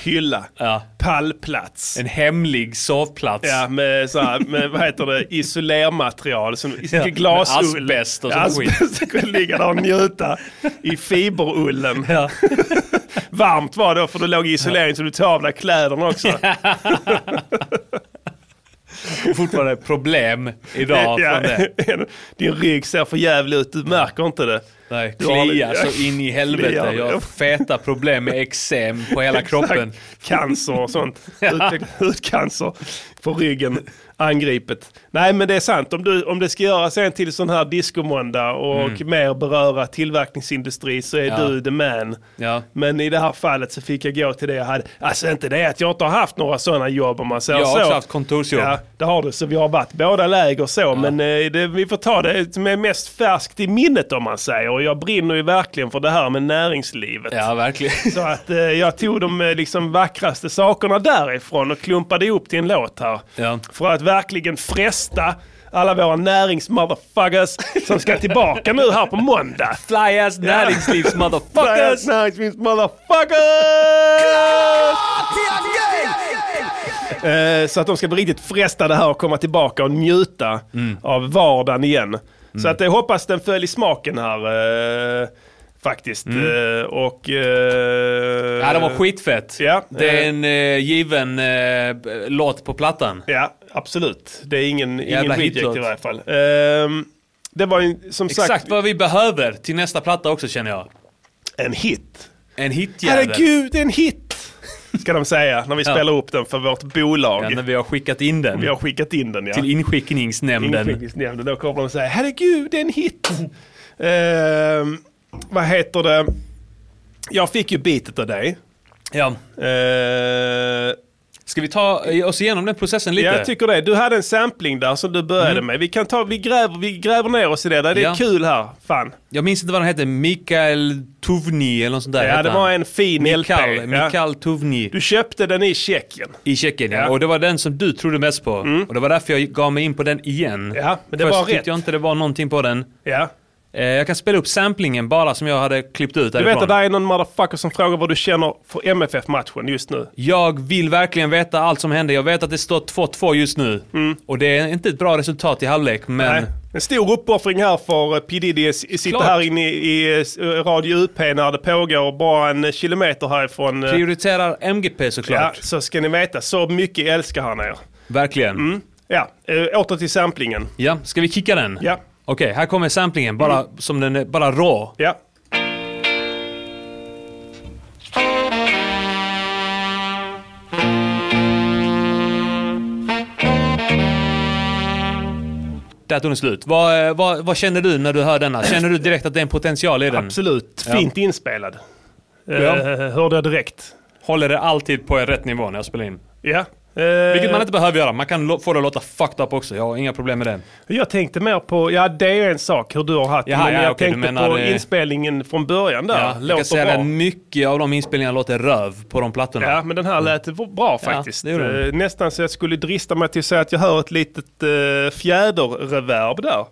hylla. Ja. Pallplats. En hemlig sovplats. Ja, med, så här, med vad heter det, isolermaterial. Som, Ja, med glasull. asbest och Ja, sån skit. asbest. Du kunde ligga där och njuta i fiberullen. Ja. Varmt var det då, för du låg i isolering så du tog av dig kläderna också. Fortfarande problem idag från det. Din rygg ser för jävligt ut, du märker inte det. Nej, Du har- kliar så in i helvete. Kliar. Jag har feta problem med eksem på hela kroppen. Exakt. Cancer och sånt. Hud- Hudcancer på ryggen angripet. Nej men det är sant, om, du, om det ska göras en till sån här discomåndag och mer beröra tillverkningsindustri så är Mm. Ja. du the man. Ja. Men i det här fallet så fick jag gå till det jag hade. Alltså inte det att jag inte har haft några sådana jobb om man säger Jag har så. också haft kontorsjobb. Ja, det har du. Så vi har varit båda läger så. Men eh, det, vi får ta det som är mest färskt i minnet om man säger. Och jag brinner ju verkligen för det här med näringslivet. Ja, verkligen. Så att eh, jag tog de eh, liksom vackraste sakerna därifrån och klumpade ihop till en låt här. Ja. För att verkligen fresta alla våra näringsmotherfuckers som ska tillbaka nu här på måndag. Fly ass näringslivs motherfuckers! Näringslivs-motherfuckers! Eh, Så att de ska bli riktigt frestade här och komma tillbaka och njuta Mm. av vardagen igen. Så att jag hoppas den följer smaken här. eh, Faktiskt. Eh, Och... Mm. eh, Ja, det var skitfett. Ja. Det är en eh, given eh, b- låt på plattan. Ja, absolut. Det är ingen, ingen Jävla reject hitlåt. i varje fall. Ehm, det var ju som Exakt sagt vad vi behöver till nästa platta också känner jag. en hit. En hitjävel. Herregud, det är en hit! Ska de säga när vi Ja. spelar upp den för vårt bolag. Ja, när vi har skickat in den Vi har skickat in den ja. till inskickningsnämnden. Inskickningsnämnden. Då kommer de säga herregud, det är en hit. Ehm, vad heter det? Jag fick ju bitet av dig. Ja. Ehm, Ska vi ta eh, oss igenom den processen lite? Mm. Ja, jag tycker det. Du hade en sampling där som du började med. Vi, kan ta, vi, gräver, vi gräver ner oss i det. där. Det är Ja. kul här. Fan. Jag minns inte vad han hette, Mikael Tovni eller något sånt där Ja, hette det han. var en fin Mikael, LP. Ja. Mikael Tovni Du köpte den i Tjeckien. i Tjeckien ja. Ja. Mm. Och det var den som du trodde mest på. Och det var därför jag gav mig in på den igen. Ja, men det Först var rätt. tyckte jag inte det var någonting på den. Ja. Eh, jag kan spela upp samplingen bara som jag hade klippt ut Du därifrån. vet att det är någon motherfucker som frågar vad du känner för MFF-matchen just nu. Jag vill verkligen veta allt som hände. Jag vet att det står 2-2 just nu. Och det är inte ett bra resultat i halvlek, men... Mm. Nej. En stor uppoffring här för eh, P Diddy att s- sitta Klart. här inne i, i eh, Radio UP när det pågår bara en eh, kilometer härifrån. eh, Prioriterar MGP Ja, såklart. så ska ni veta, så mycket älskar han er. Verkligen. Ja, eh, åter till samplingen. Ja, ska vi kicka den? Ja. Mm. Okej, här kommer samplingen. Bara som den är, bara rå. Ja. Där tog den slut. Vad, eh, vad, vad känner du när du hör denna? Känner du direkt att det är en potential i den? Absolut, fint inspelad. Ja. Mm. Ja. hörde jag direkt. Eh, Håller det alltid på rätt nivå när jag spelar in. Ja. eh, Vilket man inte behöver göra. Man kan lo- få det att låta fucked up också. Jag har inga problem med det. Jag tänkte mer på, ja det är en sak hur du har haft det, Jaha, men ja, jag okej, du tänkte menar på det- inspelningen från början där. Ja, jag kan Låter säga bra. att mycket av de inspelningarna låter röv på de plattorna. Ja, men den här lät v- bra faktiskt. Mm. det gjorde den. Eh, Nästan så jag skulle drista mig till att säga att jag hör ett litet eh, fjäderreverb där. Mm.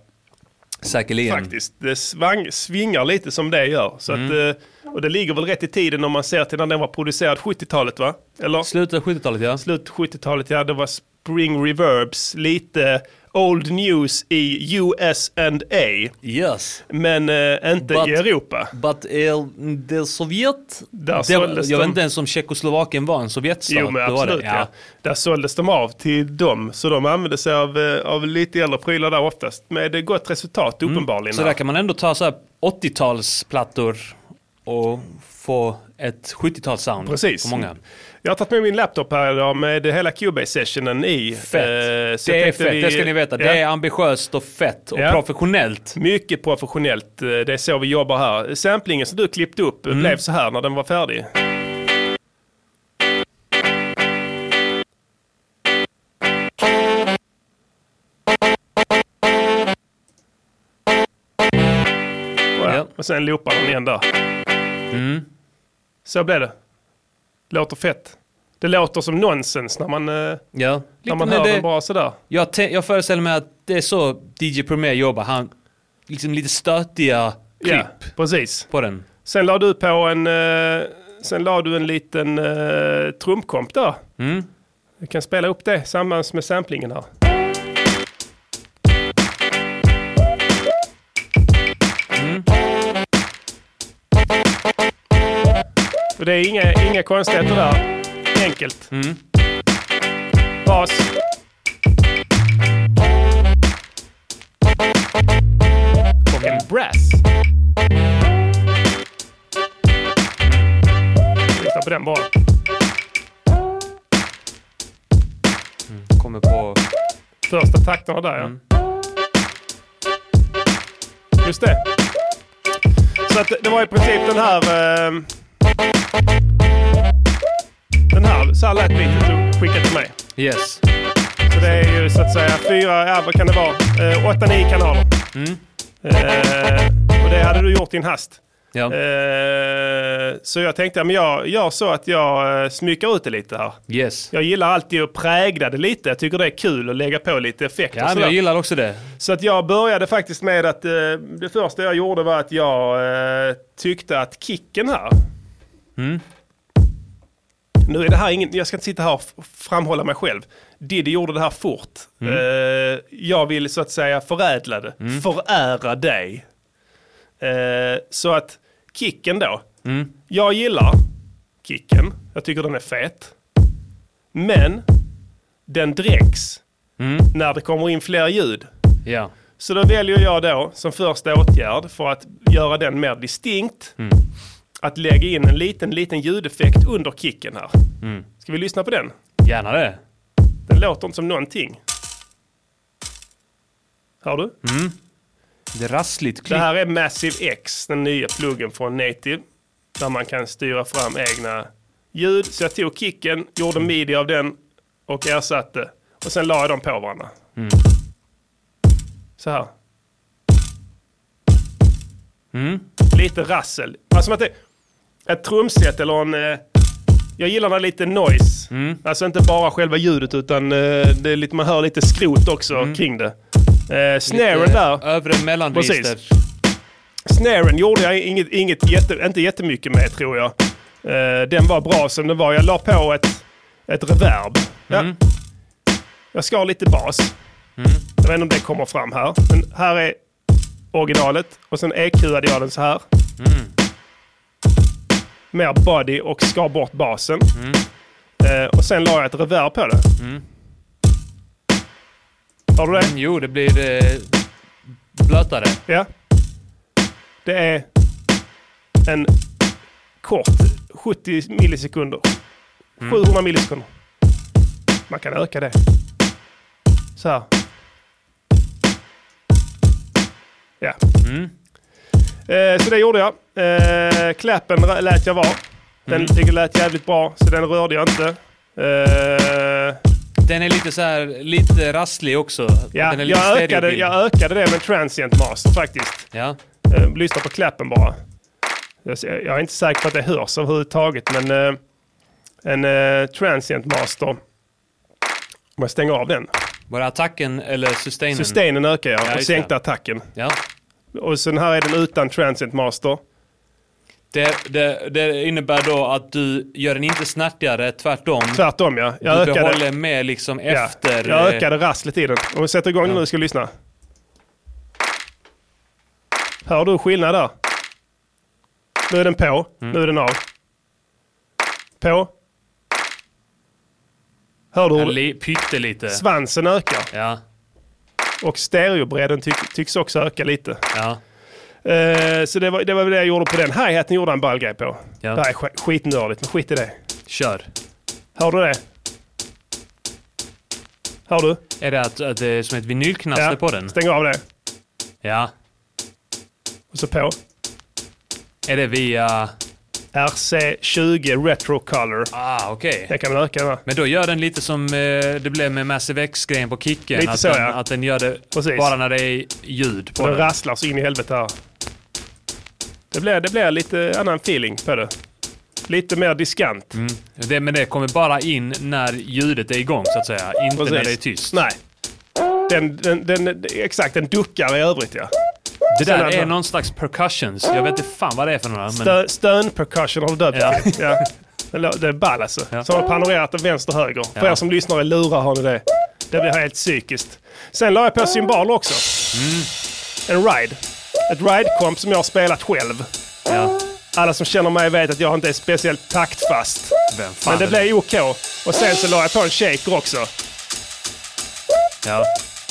Säkerligen. Faktiskt. Det svang, svingar lite som det gör. Så Mm. att, eh, och det ligger väl rätt i tiden om man ser till när den var producerad 70-talet va? Eller? Slutet av 70-talet ja. Slut 70-talet, ja det var spring reverbs, lite old news i US and A. Yes. Men eh, inte But- i Europa. But eh, det Sovjet... Där det, jag såldes vet de- inte ens om Tjeckoslovakien var en Sovjetstat. Jo men Det var det. absolut ja. Där såldes de av till dem, så de använde sig av, eh, av lite äldre prylar där oftast. Med gott resultat uppenbarligen. Mm. Så där kan man ändå ta så här 80-talsplattor och få ett 70-talssound Precis. på många. Jag har tagit med min laptop här idag med hela Cubase-sessionen i. Fett. Eh, så jag det är tänkte fett, vi- det ska ni veta. Ja. Det är ambitiöst och fett och Ja. professionellt. Mycket professionellt, eh, det är så vi jobbar här. Samplingen som du klippte upp Mm. eh, blev så här när den var färdig. Ja, Ja. Mm. Och sen loopar den igen där. Så blev det. Låter fett. Det låter som nonsens när man, eh, Ja. när Lite, man men hör det, den bara sådär. jag, te- jag föreställer mig att det är så DJ Premier jobbar. Han, liksom lite stötiga klipp Ja, precis. på den. Sen la du på en, eh, sen la du en liten eh, trumkomp där. Vi kan spela upp det tillsammans med samplingen här. Mm. Och det är inga, inga konstigheter där. Enkelt. Bas. Och en brass. Lyssna på den bara. Kommer på... Första takterna där Mm. ja. Just det. Så att det- det var i princip den här... ehm, den här, så här lät beatet du skickade till mig. Yes. Så det är ju så att säga fyra, ja vad kan det vara? Eh, åtta, nio kanaler. Mm. Eh, och det hade du gjort i en hast. Ja. Eh, Eh, så jag tänkte, ja, men jag gör så att jag eh, smyckar ut det lite här. Yes. Jag gillar alltid att prägla det lite. Jag tycker det är kul att lägga på lite effekter. och Ja, men sådär. jag gillar också det. Så att jag började faktiskt med att eh, det första jag gjorde var att jag eh, tyckte att kicken här. Nu är det här ingen, jag ska inte sitta här och f- framhålla mig själv. Diddy gjorde det här fort. Eh, jag vill så att säga förädla det, förära dig. Eh, så att kicken då. Jag gillar kicken, jag tycker den är fet. Men den dräcks när det kommer in fler ljud. Ja. Så då väljer jag då som första åtgärd för att göra den mer distinkt att lägga in en liten, liten ljudeffekt under kicken här. Ska vi lyssna på den? Gärna det. Den låter inte som någonting. Hör du? Det är rassligt Det klipp. här är Massive X, den nya pluggen från Native. Där man kan styra fram egna ljud. Så jag tog kicken, gjorde midi av den och ersatte. Och sen la jag dem på varandra. Så här. Lite rassel. Alltså som att det ett trumset eller en... eh, Jag gillar när lite noise. Alltså inte bara själva ljudet utan eh, det är lite, man hör lite skrot också kring det. Eh, snaren där. Övre mellanregister. Snaren gjorde jag inget, inget jätte, inte jättemycket med tror jag. Eh, den var bra som den var. Jag la på ett, ett reverb. Ja. Jag skar lite bas. Jag vet inte om det kommer fram här. Men här är originalet och sen EQade jag den så här. Mer body och skar bort basen. Eh, och sen la jag ett reverb på det. Har du det? Mm, Jo, det blir eh, blötare. Ja. Det är en kort 70 millisekunder. Mm. 700 millisekunder. Man kan öka det. Så här. Ja. Mm. Eh, så det gjorde jag. Eh, klappen ra- lät jag vara. Mm. Den tycker lät jävligt bra, så den rörde jag inte. Eh, Den är lite så här, lite rasslig också. ja, den är lite jag, ökade, stereobild. jag ökade det med transient master faktiskt. Ja. Eh, lyssna på klappen bara. Jag ser- jag är inte säker på att det hörs överhuvudtaget, men eh, en eh, transient master. Om jag stänger av den. Var det attacken eller sustainen? Sustainen ökar jag och Mm. just det. sänkte attacken. Ja. Och sen här är den utan transient master. Det, det, det innebär då att du gör den inte snärtigare, tvärtom. Tvärtom ja. Jag du ökade, behåller med liksom ja, efter... jag eh, ökade rasslet i den. Om vi sätter igång nu ska vi lyssna. Hör du skillnad där? Nu är den på, Mm. nu är den av. På. Hör du hur eh, Li, pyttelite. Svansen ökar Ja, och stereobredden tyck, tycks också öka lite. ja. Eh, så det var, det var väl det jag gjorde på den. Hi-haten gjorde jag en ball grej på. Ja. Det här är sk- skitnördigt, men skit i det. Kör. Hör du det? Hör du? Är det att, att det är som ett vinylknaster på den? Stäng av det. Ja. Och så på. Är det via... RC20 Retro Color. Ah, okej. Jag kan väl öka den här. Men då gör den lite som eh, det blev med Massive X-grejen på kicken. Lite att, så, den, ja. att den gör det Precis. bara när det är ljud på Den den. rasslar så in i helvete här. Det blir, det blir lite annan feeling på det. Lite mer diskant. Det, men det kommer bara in när ljudet är igång så att säga. Inte när det är tyst. Nej. Den, den, den, exakt, den duckar i övrigt ja. det där Sen- är någon slags percussions. Jag vet inte fan vad det är för några. Men... Stö, stön percussion har du döpt Ja. det till. ja. Det lå- Det är ball alltså. Ja. Så har de panorerat den vänster och höger. För Ja. er som lyssnar i lurar har ni det. Det blir helt psykiskt. Sen la jag på cymbaler också. Mm. En ride. Ett ride-komp som jag har spelat själv. Ja. Alla som känner mig vet att jag inte är speciellt taktfast. Vem fan Men det är det? blev OK. Och sen så la jag på en shaker också. Ja.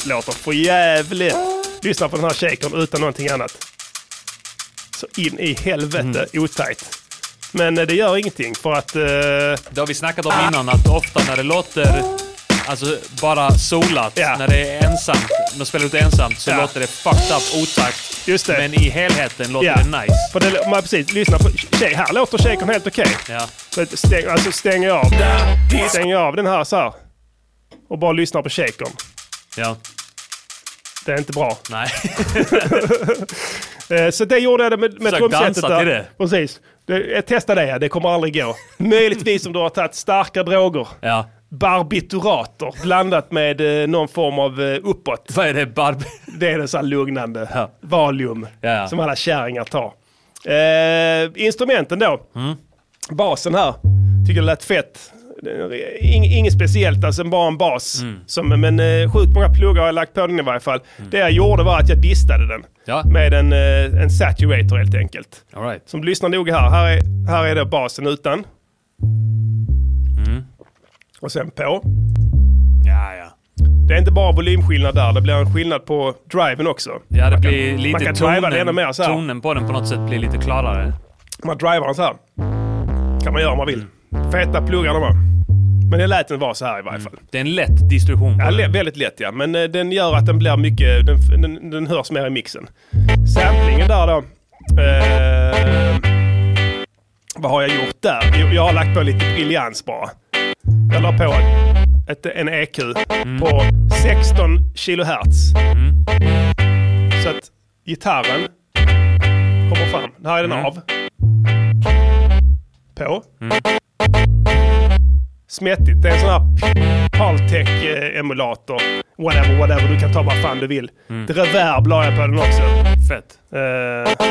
Låter för jävligt. Lyssna på den här shakern utan någonting annat. Så in i helvete Mm. otajt. Men eh, det gör ingenting för att... eh, Det har vi snackat om innan att ofta när det låter alltså, bara solat, Ja. när det är ensamt, när spelar ut ensamt så Ja. låter det fucked up, otakt. Just det. Men i helheten låter Ja. det nice. För det, man precis, lyssna på... Tjej, här låter shakern helt okej. Ja. Så att stäng, alltså stäng av. Stäng av den här så här. Och bara lyssna på shakern. ja. Det är inte bra. Nej. Eh, Så det gjorde jag med, med Försök trumsetet dansa där. till det. Precis. Det, eh, testa det, det kommer aldrig gå. Möjligtvis om du har tagit starka droger. Ja. Barbiturater blandat med eh, någon form av eh, uppåt. Vad är det? Barb... Det är det så här lugnande. Ja. Valium. Ja, ja. Som alla kärringar tar. Eh, instrumenten då. Mm. Basen här. Tycker det lät fett. Ing, inget speciellt, alltså bara en bas. Mm. Som, men eh, sjukt många pluggar har jag lagt på den i varje fall. Det jag gjorde var att jag distade den. Ja. Med en, eh, en saturator helt enkelt. All right. Så om du lyssnar noga här. Här är, här är då basen utan. Mm. Och sen på. Ja, ja. Det är inte bara volymskillnad där, det blir en skillnad på driven också. Ja, det man blir kan, lite man kan driva tonen, den ännu mer så här. tonen på den på något sätt blir lite klarare. Man drivar den så här. kan man göra om man vill. Feta pluggar de har. Men det lät den vara så här i varje fall. Det är en lätt distorsion. på Ja, den. lä- väldigt lätt ja, men eh, den gör att den blir mycket, den, den, den hörs mer i mixen. Samplingen där då. Eh, vad har jag gjort där? Jo, jag har lagt på lite briljans bara. Jag la på ett, en EQ på 16 kilohertz. Så att gitarren kommer fram. Här är den av. På. Smättigt. Det är en sån här Paltech-emulator. Whatever, whatever. Du kan ta vad fan du vill. Det Reverb la jag på den också. Fett. Eh,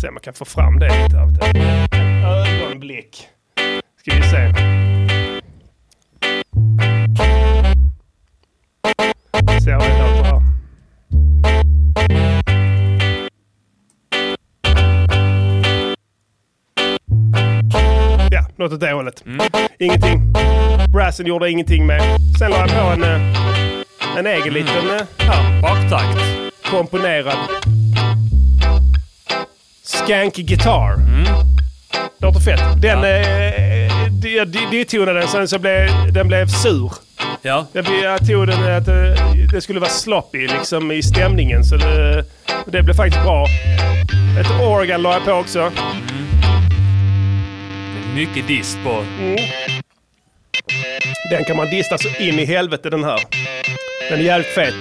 se om man kan få fram det lite. Här. Vänta. En ögonblick. Ska vi se. Se vad det låter här. Ja, något åt det hållet. Ingenting. Brassen gjorde ingenting med. Sen la jag på en, eh, en egen liten eh, här Baktakt. komponerad skanky guitar. Låter fett. Den, eh, det- jag di- ditonade den sen så blev den blev sur. Ja. Jag, jag tog den att eh, det skulle vara sloppy liksom i stämningen så det, det blev faktiskt bra. Ett organ la jag på också. Mycket dist på... Den kan man dista så in i helvete den här. Den är jävligt fet.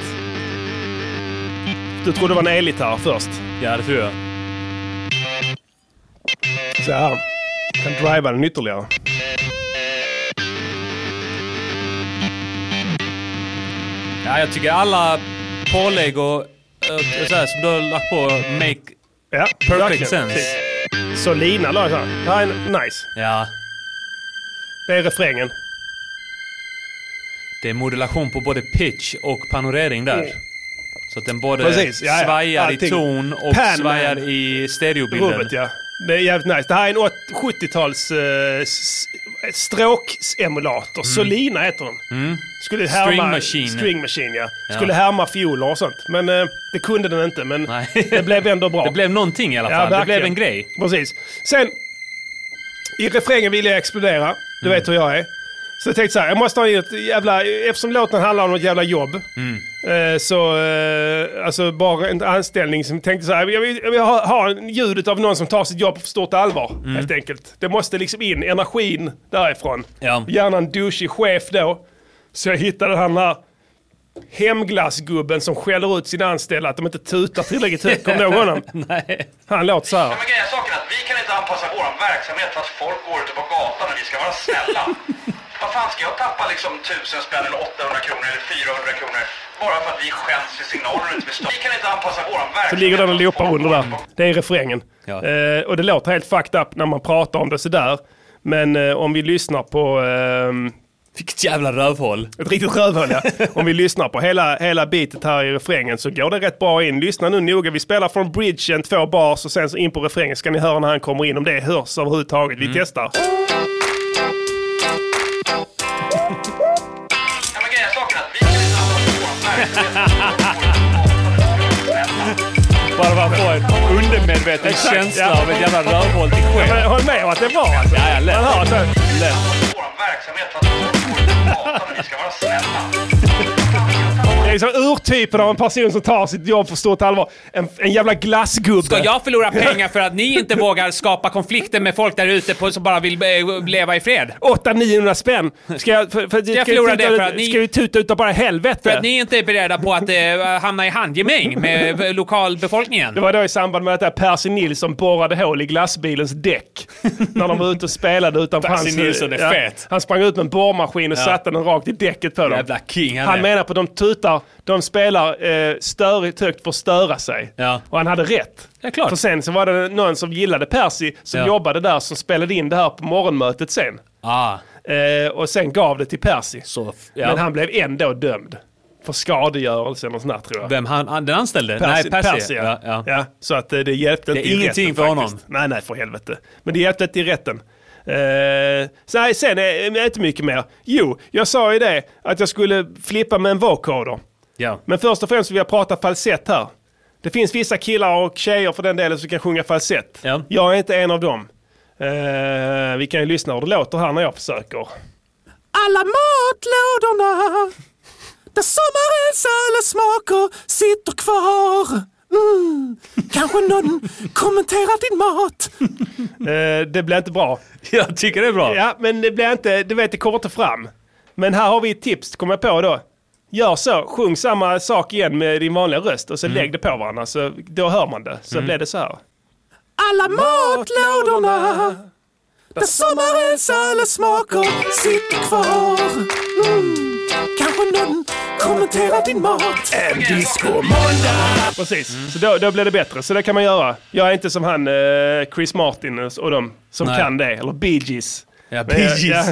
Du trodde det var en elgitarr först. Ja, det tror jag. Så här. Kan driva den ytterligare. Ja, jag tycker alla pålägg och, eh, så här, som du har lagt på make... Ja, Perfect verkligen. sense. Precis. Så lina la jag så här. Det här är en- nice. Ja. Det är refrängen. Det är modulation på både pitch och panorering där. Så att den både Precis, ja, ja. svajar Allting. i ton och Pan, svajar man. i stereobilden. Rubbet ja. Det är jävligt nice. Det här är en åt- 70-tals eh, s- stråksemulator. Solina heter den. Skulle härma, Mm. String machine. String machine ja. Skulle härma fioler och sånt. Men eh, det kunde den inte. Men Nej. det blev ändå bra. Det blev någonting i alla fall. det blev verkligen. en grej. Precis. Sen, i refrängen ville jag explodera. Du Mm. vet hur jag är. Så jag tänkte så här, jag måste ha in ett jävla... Eftersom låten handlar om något jävla jobb. Eh, så, eh, alltså bara en anställning som tänkte så här, jag vill, jag vill ha, ha ljudet av någon som tar sitt jobb på stort allvar. Mm. Helt enkelt. Det måste liksom in, energin därifrån. Ja. Gärna en douchig chef då. Så jag hittade han här hemglassgubben som skäller ut sina anställda att de inte tutar tillräckligt högt. Kommer du ihåg honom? Nej. Han låter så här. Men grejen är saken att vi kan inte anpassa vår verksamhet för att folk går ute på gatan när vi ska vara snälla. Vad fan ska jag tappa liksom 1000 spänn eller 800 kronor eller 400 kronor bara för att vi skäms vid signaler ute vid stan? Vi kan inte anpassa vår verksamhet. Så ligger den och för att loopar folk under går där. ut på- Det är refrängen. Ja. Eh, och det låter helt fucked up när man pratar om det sådär. Men eh, om vi lyssnar på... ehm, Vilket jävla rövhål. ett riktigt rövhål ja. Om vi lyssnar på hela, hela bitet här i refrängen så går det rätt bra in. Lyssna nu noga. Vi spelar från bridgen två bars och sen så in på refrängen ska ni höra när han kommer in. Om det hörs överhuvudtaget. Vi testar. Ja, men grejen är saken att vi kan inte anpassa vår verksamhet för att folk går ute på gatan när vi ska vara snälla. Bara man får en undermedveten Exakt, känsla ja. av ett jävla rövhål till Men chef. håll med om att det är bra alltså. Ja, ja, lätt. Man hör så här. Anpassa vår verksamhet för att folk går ute på gatan när vi ska vara snälla. Vad fan ska jag tappa- är liksom urtypen av en person som tar sitt jobb på stort allvar. En, en jävla glassgubbe. Ska jag förlora pengar för att ni inte vågar skapa konflikter med folk där ute på- som bara vill eh, leva i fred? 800-900 spänn. Ska jag, för, för, ska Jag vi förlorar tuta det för ut- att ni- Ska vi tuta utav bara helvete? För att ni inte är beredda på att eh, hamna i handgemäng med eh, lokalbefolkningen? Det var då i samband med att där Percy Nilsson borrade hål i glassbilens däck. när de var ute och spelade utanför eh, Percy Nilsson är fet. Han sprang ut med en borrmaskin och satte den rakt i däcket på dem. Jävla king han, Han är. menar på att de tutar, de spelar eh, störigt högt för att störa sig. Ja. Och han hade rätt. Ja, klart. För sen så var det någon som gillade Percy som Ja. jobbade där som spelade in det här på morgonmötet sen. Ah, Eh, och sen gav det till Percy. så, f- ja. Men han blev ändå dömd. För skadegörelse eller något sånt där tror jag. Vem han, han, den anställde? Nej, Percy. ja. Ja, Så att eh, det hjälpte inte i ingenting rätten, för honom. faktiskt. Nej, nej för helvete. Men det hjälpte inte i rätten. Eh, så nej, sen är inte mycket mer. Jo, jag sa ju det att jag skulle flippa med en vocoder. Ja. Men först och främst vill jag prata falsett här. Det finns vissa killar och tjejer för den delen som kan sjunga falsett. Ja. Jag är inte en av dem. Eh, vi kan ju lyssna hur det låter här när jag försöker. Alla matlådorna där sommarens alla smaker sitter kvar. Mm. Kanske någon kommenterar din mat. Eh, det blir inte bra. Jag tycker det är bra. Ja, men det blir inte, du vet det kommer inte fram. Men här har vi ett tips, kom jag på då. Gör så, sjung samma sak igen med din vanliga röst och så Mm. lägg det på varandra. Så då hör man det, så blir det så här. Alla matlådorna där sommarens alla smaker sitter kvar. Mm. Kanske någon kommenterar din mat. Precis, Mm. så då, då blir det bättre. Så det kan man göra. Jag är inte som han eh, Chris Martin och de som Nej. kan det, eller Bee Gees. Ja, Bee Gees. ja.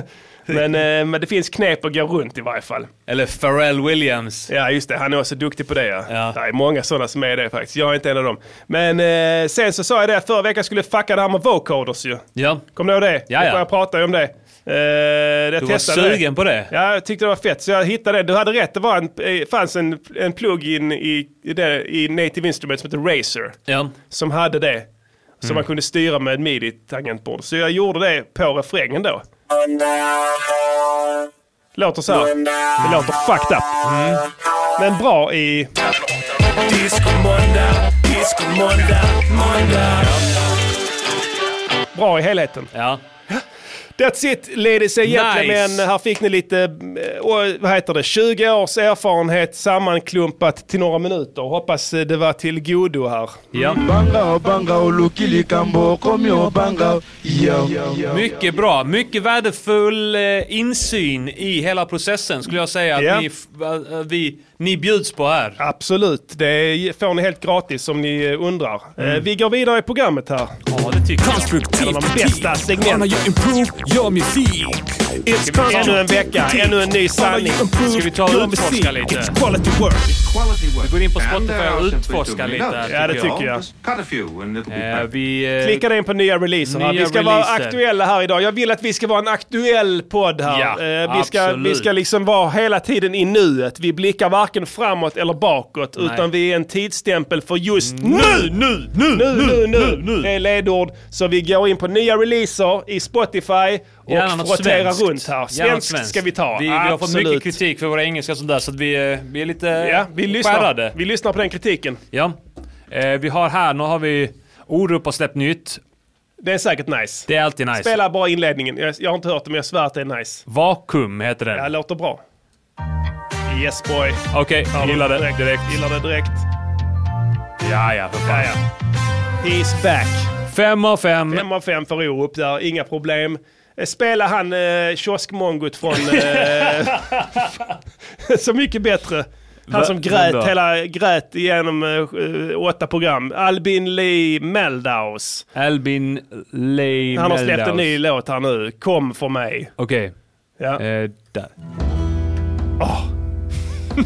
Men, eh, men det finns knep att gå runt i varje fall. Eller Pharrell Williams. Ja, just det. Han är också duktig på det. Ja. Ja. Det är många sådana som är det faktiskt. Jag är inte en av dem. Men eh, sen så sa jag det att förra veckan skulle jag fucka det här med vocoders ju. Ja. Kommer du ihåg det? Ja, ja. Jag pratade ju om det. Eh, jag Du var testade sugen det. på det? Ja, jag tyckte det var fett. Så jag hittade det. Du hade rätt. Det var en, eh, fanns en, en plugin i, i, det, i Native Instruments som hette Razer. Ja. Som hade det. Som Mm. man kunde styra med ett midi-tangentbord. Så jag gjorde det på refrängen då. Låter så här. Det låter fucked up. Mm. Men bra i... Bra i helheten. Ja. That's it ladies and gentlemen. Nice. Här fick ni lite, eh, och vad heter det, 20 års erfarenhet sammanklumpat till några minuter. Hoppas eh, det var till godo här. ja. Mycket bra. Mycket värdefull eh, insyn i hela processen skulle jag säga att Ja. ni, f- eh, vi, ni bjuds på här. Absolut, det får ni helt gratis om ni eh, undrar. Mm. Eh, Vi går vidare i programmet här. Ja, det tycker jag. En av de bästa segmenten. Ännu en vecka, ännu en ny sanning. Ska vi ta och utforska lite? Quality work. uh, Vi går in på Spotify och utforskar lite här, Ja, det tycker jag. Eh, vi, eh, Klicka in på nya releaser här. Nya Vi ska vara releaser. aktuella här idag. Jag vill att vi ska vara en aktuell podd här. Ja, Eh, vi, ska, absolut. vi ska liksom vara hela tiden i nuet. Vi blickar varken framåt eller bakåt, utan vi är en tidsstämpel för just nu! nu, nu, Nu, nu, nu, Det är ledord. Så vi går in på nya releaser i Spotify Gärna och något frotterar svenskt. runt här. Gärna något Svenskt, svenskt. ska vi ta. Vi, vi har fått Absolut. mycket kritik för våra engelska och sånt där så att vi, eh, vi är lite Ja, vi lyssnar, skärrade. vi lyssnar på den kritiken. Ja. Eh, vi har här, nu har vi Orup har släppt nytt. Det är säkert nice. Det är alltid nice. Spela bara inledningen. Jag, jag har inte hört det, men jag svär att det är nice. Vakuum heter Det här den. låter bra. Yes boy. Okej, gillar det direkt. direkt. Gillar det direkt. Ja, ja, för fan. Ja, ja. He's back. Fem av fem. Fem av fem för Orup där, inga problem. Eh, Spelar han eh, kioskmongot från... Eh, så mycket bättre. Han Va- som grät, vem då? hela, grät igenom eh, åtta program. Albin Lee Meldaus. Albin Lay Han har släppt en Meldaus. ny låt här nu. Kom för mig. Okej. Ja, Eh, där.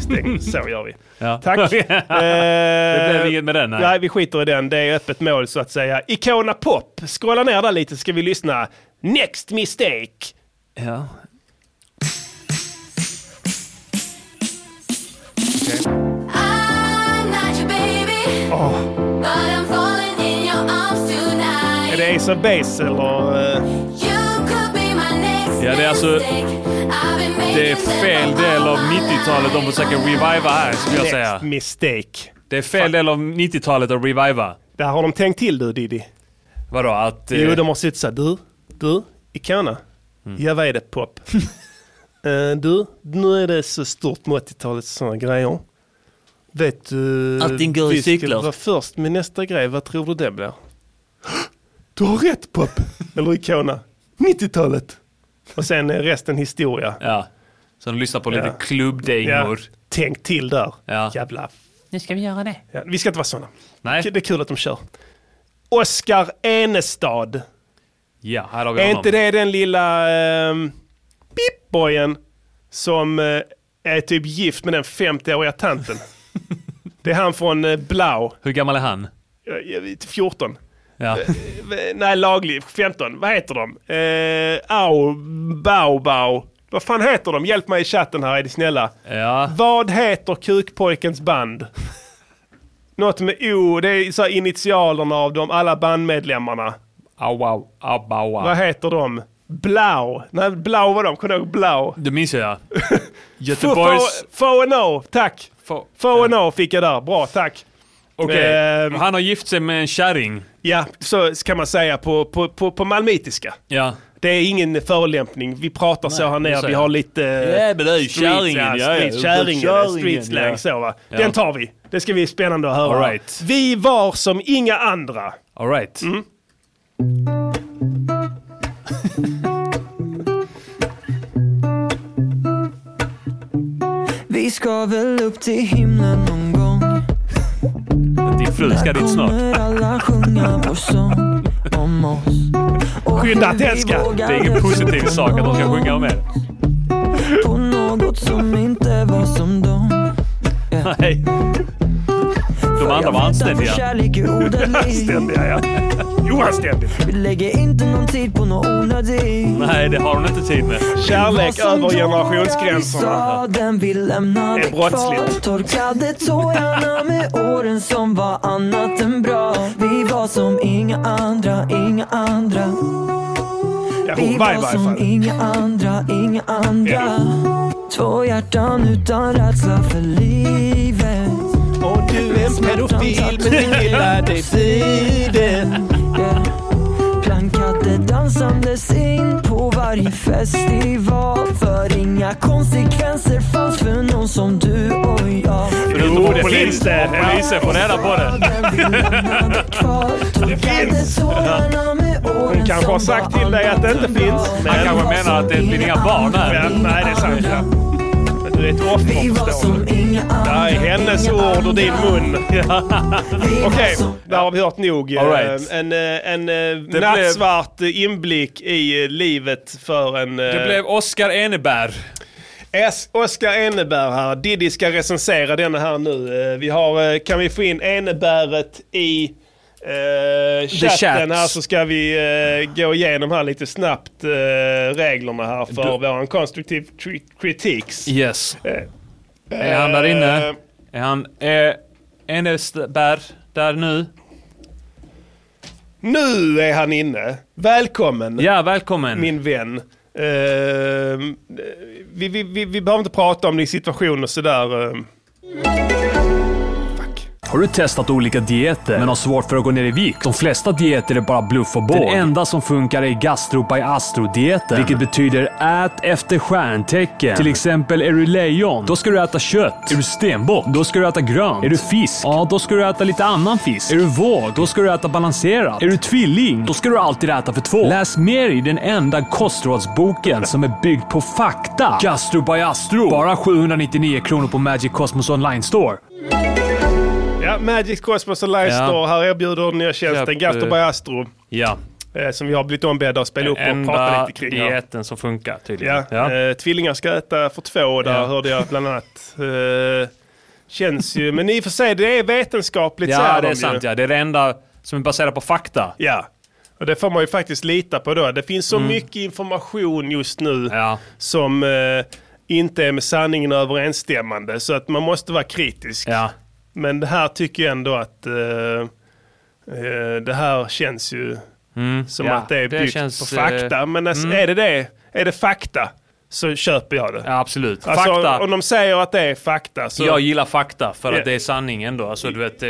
stäng. Så gör vi. Ja. Tack. Eh, det blev inget med den Nej. här. vi skiter i den. Det är öppet mål så att säga. Icona Pop. Scrolla ner där lite ska vi lyssna. Next Mistake. Ja. I'm not your baby, but I'm falling in your arms Är tonight. det Ace of Base eller? eh, You could be my next Ja, det är alltså... Det är fel del av 90-talet de försöker reviva här, skulle jag säga. mistake. Det är fel del av 90-talet att reviva. Där har de tänkt till du Diddy. Vadå, att... eh, Jo, de har suttit såhär, du, du, Icona. Ja, vad är det pop? Eh, du, nu är det så stort med 80-talet sådana grejer. Vet du... Allting går i vi ska cykler. vara först med nästa grej, vad tror du det blir? Du har rätt pop! Eller Icona. 90-talet! Och sen är resten historia. Ja. Så de lyssnar på lite Ja. klubbdängor. Ja, Tänk till där. Jävla... Nu ska vi göra det. Ja, vi ska inte vara sådana. Nej. Det är kul att de kör. Oscar Enestad. Ja, här har vi Är honom. inte det den lilla um, pip-boyen som eh, är typ gift med den 50-åriga tanten? det är han från uh, Blau. Eh, Hur gammal är han? Jag- jag vet, 14. Ja. V- Eh, Nej, laglig. 15. Vad heter de? Eh, au, bau, bau. Vad fan heter de? Hjälp mig i chatten här, är ni snälla. Ja. Vad heter Kukpojkens band? Något med O, det är så här initialerna av dem, alla bandmedlemmarna. Au, au, au, au, Vad au. heter de? Blau. Nej, Blau var de. Kommer du ihåg Blau? Det minns jag. Göteborgs... F&O, tack. Få- F&O fick jag där. Bra, tack. Okej, Ehm. han har gift sig med en kärring. Ja, så kan man säga på, på, på, på malmitiska. Ja. Det är ingen förolämpning. Vi pratar så här det nere. säger Vi jag. har lite... eh, Ja, men det är ju kärringen, ja, ja. street, kärringen, Kärringen, street slang ja. så va. Ja. Den tar vi. Det ska bli spännande att höra. All right. Vi var som inga andra. Alright. Mm. Vi ska väl upp till himlen någon gång. Din fru ska dit snart. Kommer alla sjunga vår sång om oss. Skynda att vi älska. Det är ingen positiv sak att de ska sjunga om er. På något som inte var som dem. Nej. De andra var För anständiga. kärlek är odödlig. Ständiga, ja. Oanständigt. Vi lägger inte någon tid på något onödigt. Nej, det har hon inte tid med. Kärlek över generationsgränserna. Sa den vi lämnade Det är brottsligt. kvar. Torkade tårarna med åren som var annat än bra. Vi var som inga andra, inga andra. Ja, Vi hon var i var varje som fall. inga andra, inga andra. Två hjärtan utan rädsla för livet. Och du är en pedofil men du gillar dig friden. Yeah. Plankade dansandes in på varje festival. För inga konsekvenser fanns för någon som du och jag. Jo, det finns det. Polisen får reda på det. Det finns! Hon kanske har sagt till dig att det inte finns. Han kanske menar att det blir inga barn här. Ja, nej, det är sant. Ja. Men du är ett offer, förstår du. Det här är hennes ord och din mun. Okej, där har vi hört nog. Eh, All right. En, eh, en eh, blev- nattsvart inblick i eh, livet för en... eh, Det blev Oscar Eneberg. S- Oskar Eneberg här. Diddy ska recensera denna här nu. Eh, Vi har, eh, kan vi få in Eneberget i eh, chatten chat. här så ska vi eh, gå igenom här lite snabbt eh, reglerna här för Du- vår konstruktiv tri- kritiks. Yes. Eh, Är han där eh, inne? Är han... Är Eneberg där nu? Nu är han inne. Välkommen Ja, välkommen. min vän. Eh, vi, vi, vi, vi behöver inte prata om din situation och sådär. eh. Har du testat olika dieter men har svårt för att gå ner i vikt? De flesta dieter är bara bluff och båg. Den enda som funkar är gastro by astro-dieten. Vilket betyder ät efter stjärntecken. Till exempel är du lejon, då ska du äta kött. Är du stenbock, då ska du äta grönt. Är du fisk, ja då ska du äta lite annan fisk. Är du våg, då ska du äta balanserat. Är du tvilling, då ska du alltid äta för två. Läs mer i den enda kostrådsboken som är byggd på fakta. Gastro by astro. Bara 799 kronor på Magic Cosmos online store. Ja, Magic Cosmos och Livestore. Ja. Här erbjuder den nya tjänsten Köp, Gastro eh, by Astro. Ja. eh, Som vi har blivit ombedda att spela upp och prata Enda lite kring. här. dieten som funkar tydligen. Ja. Eh, tvillingar ska äta för två och där Ja. hörde jag bland annat. Eh, känns ju, men i och för sig det är vetenskapligt så Ja, är det de är sant ju. ja. Det är det enda som är baserat på fakta. ja. Och det får man ju faktiskt lita på då. Det finns så mycket information just nu Mm. Ja. som eh, inte är med sanningen överensstämmande. Så att man måste vara kritisk. Ja. Men det här tycker jag ändå att eh, eh, det här känns ju som Ja, att det är det byggt Mm. känns, på fakta. eh, Men alltså, är det det? är det fakta så köper jag det. Ja, absolut. Alltså, fakta. Om de säger att det är fakta så... Jag gillar fakta för Ja. att det är sanningen då. Alltså du vet... Eh,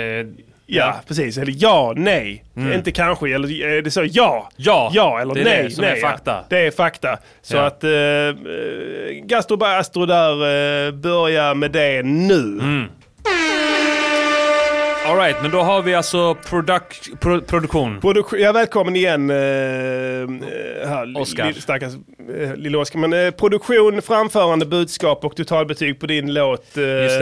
Ja, precis. Eller ja, nej. Mm. Inte kanske. Eller är det så ja? Ja, Ja, eller det är nej. det som nej, är ja. fakta. Det är fakta. Så Ja. att eh, eh, Gastro by Astro där, eh, börja med det Mm. nu. All right, men då har vi alltså produk- pro- produktion. Produk- ja, välkommen igen eh, eh, här, Oscar. Lille, stackars, eh, lille Oscar. Men eh, produktion, framförande, budskap och totalbetyg på din låt. Eh, Just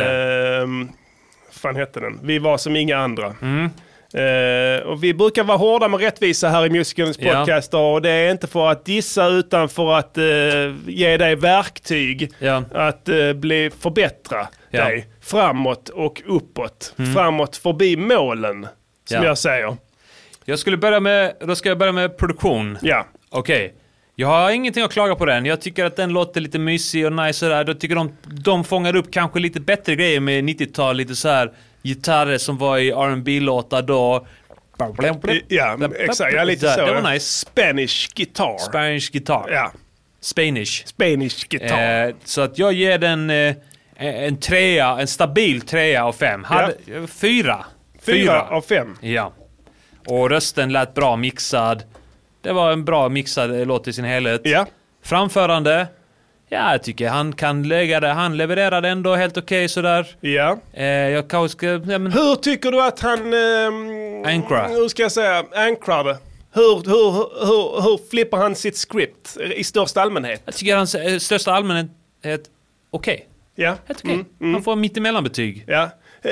fan hette den? Vi var som inga andra. Mm. Eh, och vi brukar vara hårda med rättvisa här i Musikerns Ja. podcast och det är inte för att dissa utan för att eh, ge dig verktyg att eh, bli, förbättra Ja. Mm. dig framåt och uppåt. Framåt förbi målen, som Ja. jag säger. Jag skulle börja med, då ska jag börja med produktion. Ja. Okej. Jag har ingenting att klaga på den. Jag tycker att den låter lite mysig och nice och där. Jag tycker de, de fångar upp kanske lite bättre grejer med 90-tal. Lite så här gitarrer som var i rb låtar då. Ja, exakt. Ja, lite så. Det ja. var nice. Spanish guitar. Spanish guitar. Ja. Spanish. Spanish guitar. Eh, så att jag ger den eh, en trea, en stabil trea av fem. Hade, eh, Fyra. Fyra av fem. Ja. Och rösten lät bra mixad. Det var en bra mixad eh, låt i sin helhet. Ja. Framförande. Ja, jag tycker han kan lägga det. Han levererade ändå helt okej sådär. Ja. Eh, jag kanske ska... Ja, men... Hur tycker du att han... ehm, Ankra. Hur ska jag säga? Ankrar det. Hur, hur, hur, hur flippar han sitt script i största allmänhet? Jag tycker hans eh, största allmänhet... Okej. Ja. Mm. Helt okej. Han får mittemellanbetyg. Ja. Eh,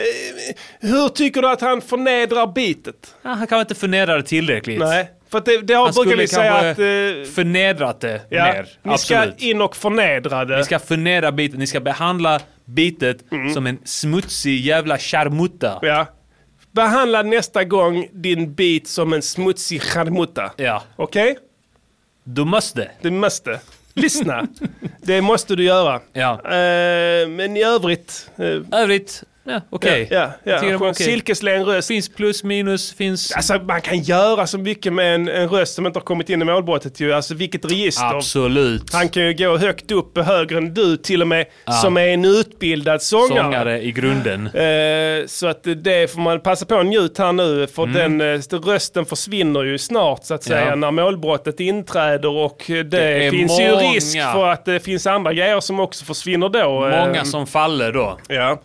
Hur tycker du att han förnedrar beatet? Ja, Ah, han kanske inte förnedrar det tillräckligt. Nej. För att det, det har, Han brukar skulle vi säga kanske att... eh, förnedrat det ja, mer. ni ska Absolut. in och förnedra det. Ni ska förnedra bitet, ni ska behandla bitet Mm. som en smutsig jävla charmutta. Ja. Behandla nästa gång din beat som en smutsig charmutta. Ja. Okej? Du måste. Du måste. Lyssna. det måste du göra. Ja. Eh, men i övrigt... eh, Övrigt, ja, okej. Ja, ja, ja. Jag tycker det var okej. Silkeslen röst. Finns plus, minus, finns... Alltså man kan göra så mycket med en, en röst som inte har kommit in i målbrottet ju. Alltså vilket register. Absolut. Han kan ju gå högt upp, högre än du till och med, som är en utbildad sångare. Sångare i grunden. Eh, så att det får man passa på att njuta här nu, för den eh, rösten försvinner ju snart så att säga Mm. Ja. när målbrottet inträder och det, är finns ju många. risk för att det finns andra grejer som också försvinner då. Eh, Många som faller då. Ja.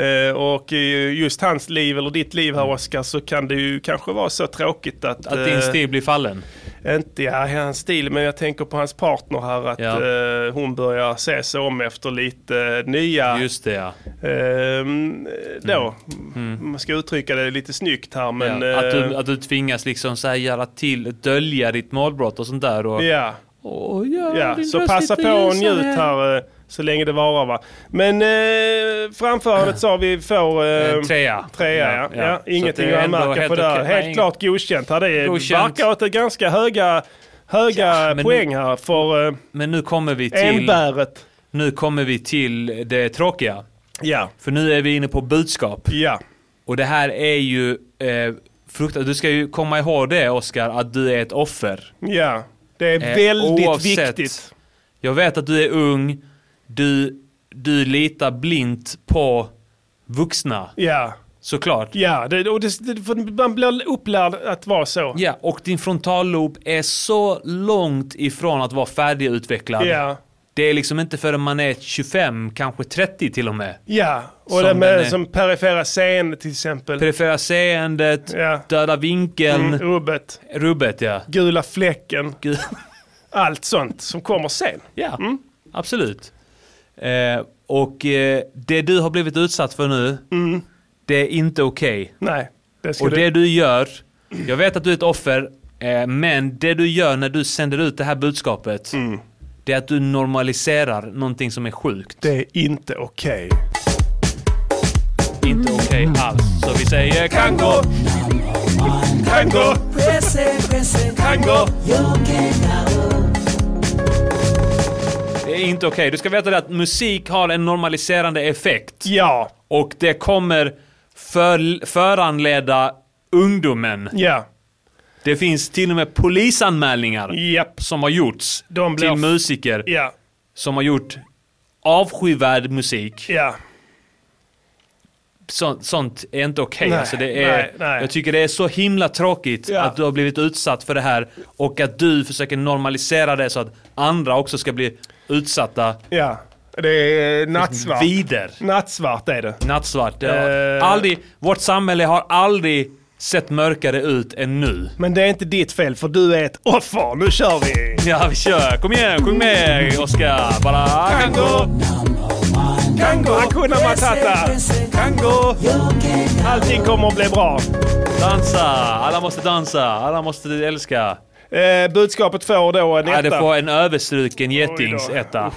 Eh, Och i just hans liv, eller ditt liv här Oskar, så kan det ju kanske vara så tråkigt att... Att din eh, stil blir fallen. Inte ja, hans stil, men jag tänker på hans partner här, att Ja. eh, hon börjar se sig om efter lite eh, nya... Just det ja. Ehm, då, Mm. man ska uttrycka det lite snyggt här men... Mm. ja. Att, du, eh, att du tvingas liksom så här göra till, dölja ditt målbrott och sånt där. Och, ja, Åh, gör ja. din så röst passa lite på och ljusare. njut här eh, så länge det varar va. Men eh, framförandet sa vi får... Eh, En trea. Trea, ja. ja. Ja, ja. Så Ingenting det är att ändå anmärka på helt där. okej. Helt Nej, klart godkänt. Här. Det är, Godkänt. verkar åt det ganska höga, höga men poäng här för eh, Men nu kommer vi till... enbäret. Nu kommer vi till det tråkiga. Ja, För nu är vi inne på budskap. ja. Och det här är ju eh, fruktansvärt. Du ska ju komma ihåg det Oskar, att du är ett offer. Ja, det är Eh, väldigt oavsett. viktigt. Jag vet att du är ung. Du, du litar blint på vuxna. Ja, Såklart. ja det, och det, det, för man blir upplärd att vara så. Ja, och din frontallob är så långt ifrån att vara färdigutvecklad. Ja, Det är liksom inte förrän man är 25, kanske 30 till och med. ja. och Som det den med är. som perifera scen till exempel. Perifera seendet, Ja. döda vinkeln, Mm, rubbet, rubbet ja. gula fläcken, Gud. allt sånt som kommer sen. Ja, absolut. Eh, och eh, det du har blivit utsatt för nu, det är inte okej. Nej, det Mm. ska Och du... det du gör, jag vet att du är ett offer, eh, men det du gör när du sänder ut det här budskapet, Mm. det är att du normaliserar någonting som är sjukt. det är inte okej. Inte okej alls. Så vi säger kango! Tango, tango! Det är inte okej. Du ska veta det att musik har en normaliserande effekt. Ja, Och det kommer för, föranleda ungdomen ja. Det finns till och med polisanmälningar som har gjorts blir- till musiker Ja. som har gjort avskyvärd musik. Ja. Sånt, sånt är inte okej. Nej, alltså det är, nej, nej. Jag tycker det är så himla tråkigt Ja. att du har blivit utsatt för det här och att du försöker normalisera det så att andra också ska bli utsatta. Ja, det är nattsvart. Vider. Nattsvart är det. Nattsvart. Det har Eh. aldrig, vårt samhälle har aldrig sett mörkare ut än nu. Men det är inte ditt fel för du är ett offer. Nu kör vi! Ja, vi kör. Kom igen, sjung med Oskar. Bara kan gå. Kango! Hakuna Matata! Kango! Allting kommer att bli bra. Dansa. Alla måste dansa. Alla måste älska. Eh, budskapet får då en Ja, det etta. får en överstruken getingsetta.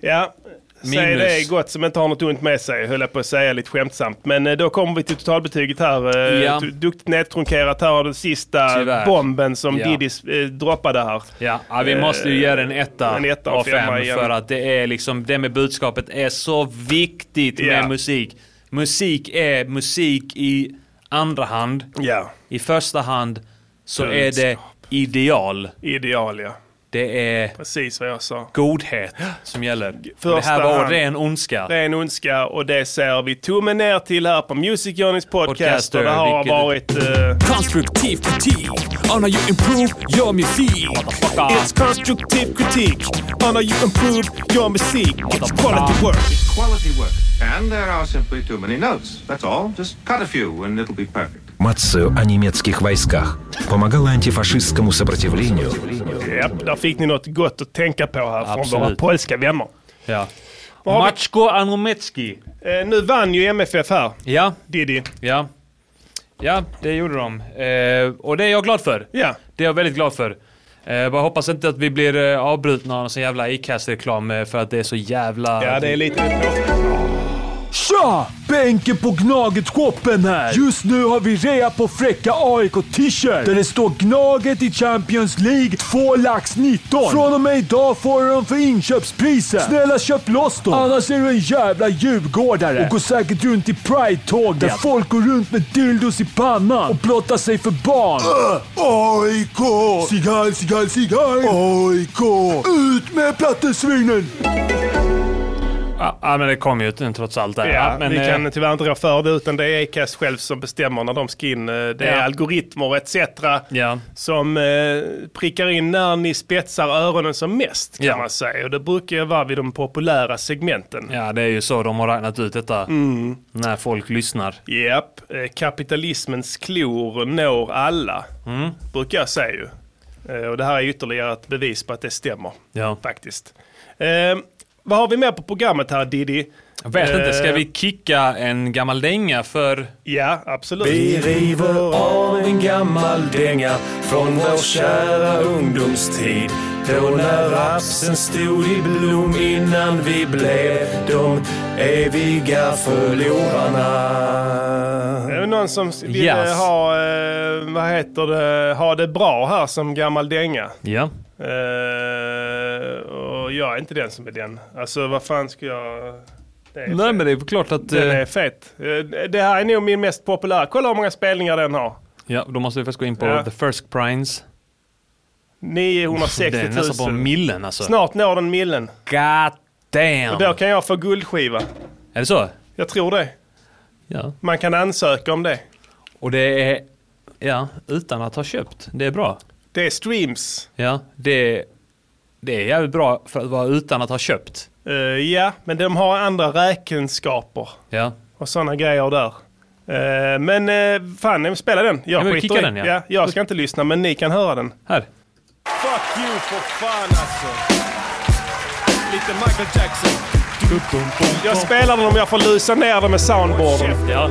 Ja, säg Minus. det är gott som inte har något ont med sig, höll jag på att säga lite skämtsamt. Men eh, då kommer vi till totalbetyget här. Eh, Ja. du- Duktigt nedtrunkerat. Här har du sista Tyvärr. bomben som Ja. Diddy eh, droppade här. Ja, ja, vi måste ju Eh, göra en etta, en etta och av femma fem igen. för att det är liksom, det med budskapet är så viktigt Ja. med musik. Musik är musik i andra hand. Ja. I första hand så är det Budskap. ideal. Ideal, ja. Det är Precis vad jag sa. godhet som gäller. Första det här var hand. ren ondska. Ren ondska och det ser vi tummen ner till här på Music Journeys podcast. Podcaster, och det har vilket- varit... eh, Konstruktiv kritik on how you improve your music. It's constructive critique on how you improve your music. It's quality work. Quality work. And there are simply too many notes. That's all. Just cut a few and it'll be perfect. Мацию о немецких войсках помогала антифашистскому сопротивлению Ja, där fick ni något gott att tänka på här från Absolut. våra polska vänner. Ja. Matsko Anometski. Eh, nu vann ju MFF här. Ja. Diddy. Ja. Ja, det gjorde de. Eh, och det är jag glad för. Ja. Det är jag väldigt glad för. Eh, bara hoppas inte att vi blir eh, avbrutna av någon sån jävla Acast-reklam eh, för att det är så jävla... Ja, det är lite... Tja! Bänken på Gnaget-shoppen här! Just nu har vi rea på fräcka AIK-t-shirt där det står Gnaget i Champions League 2 lax 19. Från och med idag får du dem för inköpspriset. Snälla köp loss dem, annars är du en jävla djurgårdare och går säkert runt i Pride-tåget där folk går runt med dildos i pannan och blottar sig för barn. Äh, AIK! Sigal, sigal, sigal! AIK! Ut med plattesvinen! Ja, ja, men det kom ju ut, trots allt. Där. Ja, men, vi eh, kan tyvärr inte rå för det utan det är Acast själv som bestämmer när de ska in. Eh, Det är Ja. algoritmer etc. Ja. som eh, prickar in när ni spetsar öronen som mest kan Ja. man säga. Och det brukar ju vara vid de populära segmenten. ja, det är ju så de har räknat ut detta. Mm. När folk lyssnar. Japp, eh, kapitalismens klor når alla, brukar jag säga ju. Eh, Och det här är ytterligare ett bevis på att det stämmer, Ja. faktiskt. Eh, vad har vi mer på programmet här Diddy? Jag vet inte, ska Eh, vi kicka en gammal dänga för... Ja, absolut. Vi river av en gammal dänga från vår kära ungdomstid. Då när rapsen stod i blom innan vi blev de eviga förlorarna. Är det någon som s- vill eh, Yes. ha, eh, vad heter det, ha det bra här som gammal dänga? Ja. Eh, och jag är inte den som är den. Alltså vad fan ska jag... Det är Nej, men det är klart att... Den eh, är fet. Eh, Det här är nog min mest populära. Kolla hur många spelningar den har. Ja, då måste vi först gå in på Ja. The First Primes. 960 000. Det är nästan på millen, alltså. Snart når den millen. God damn! Och då kan jag få guldskiva. Är det så? Jag tror det. Ja. Man kan ansöka om det. Och det är... Ja, utan att ha köpt. Det är bra. Det är streams. Ja, det, det är jävligt bra för att vara utan att ha köpt. Eh, ja, men de har andra räkenskaper Ja. och sådana grejer där. Eh, men uh, fan, spela den. Jag Ja, men skiter kicka i. den, ja. Jag ska inte lyssna, men ni kan höra den. Här. Fuck you for fan alltså. Lite Michael Jackson. Jag spelar den om jag får lusa ner den med soundboarden. Ja.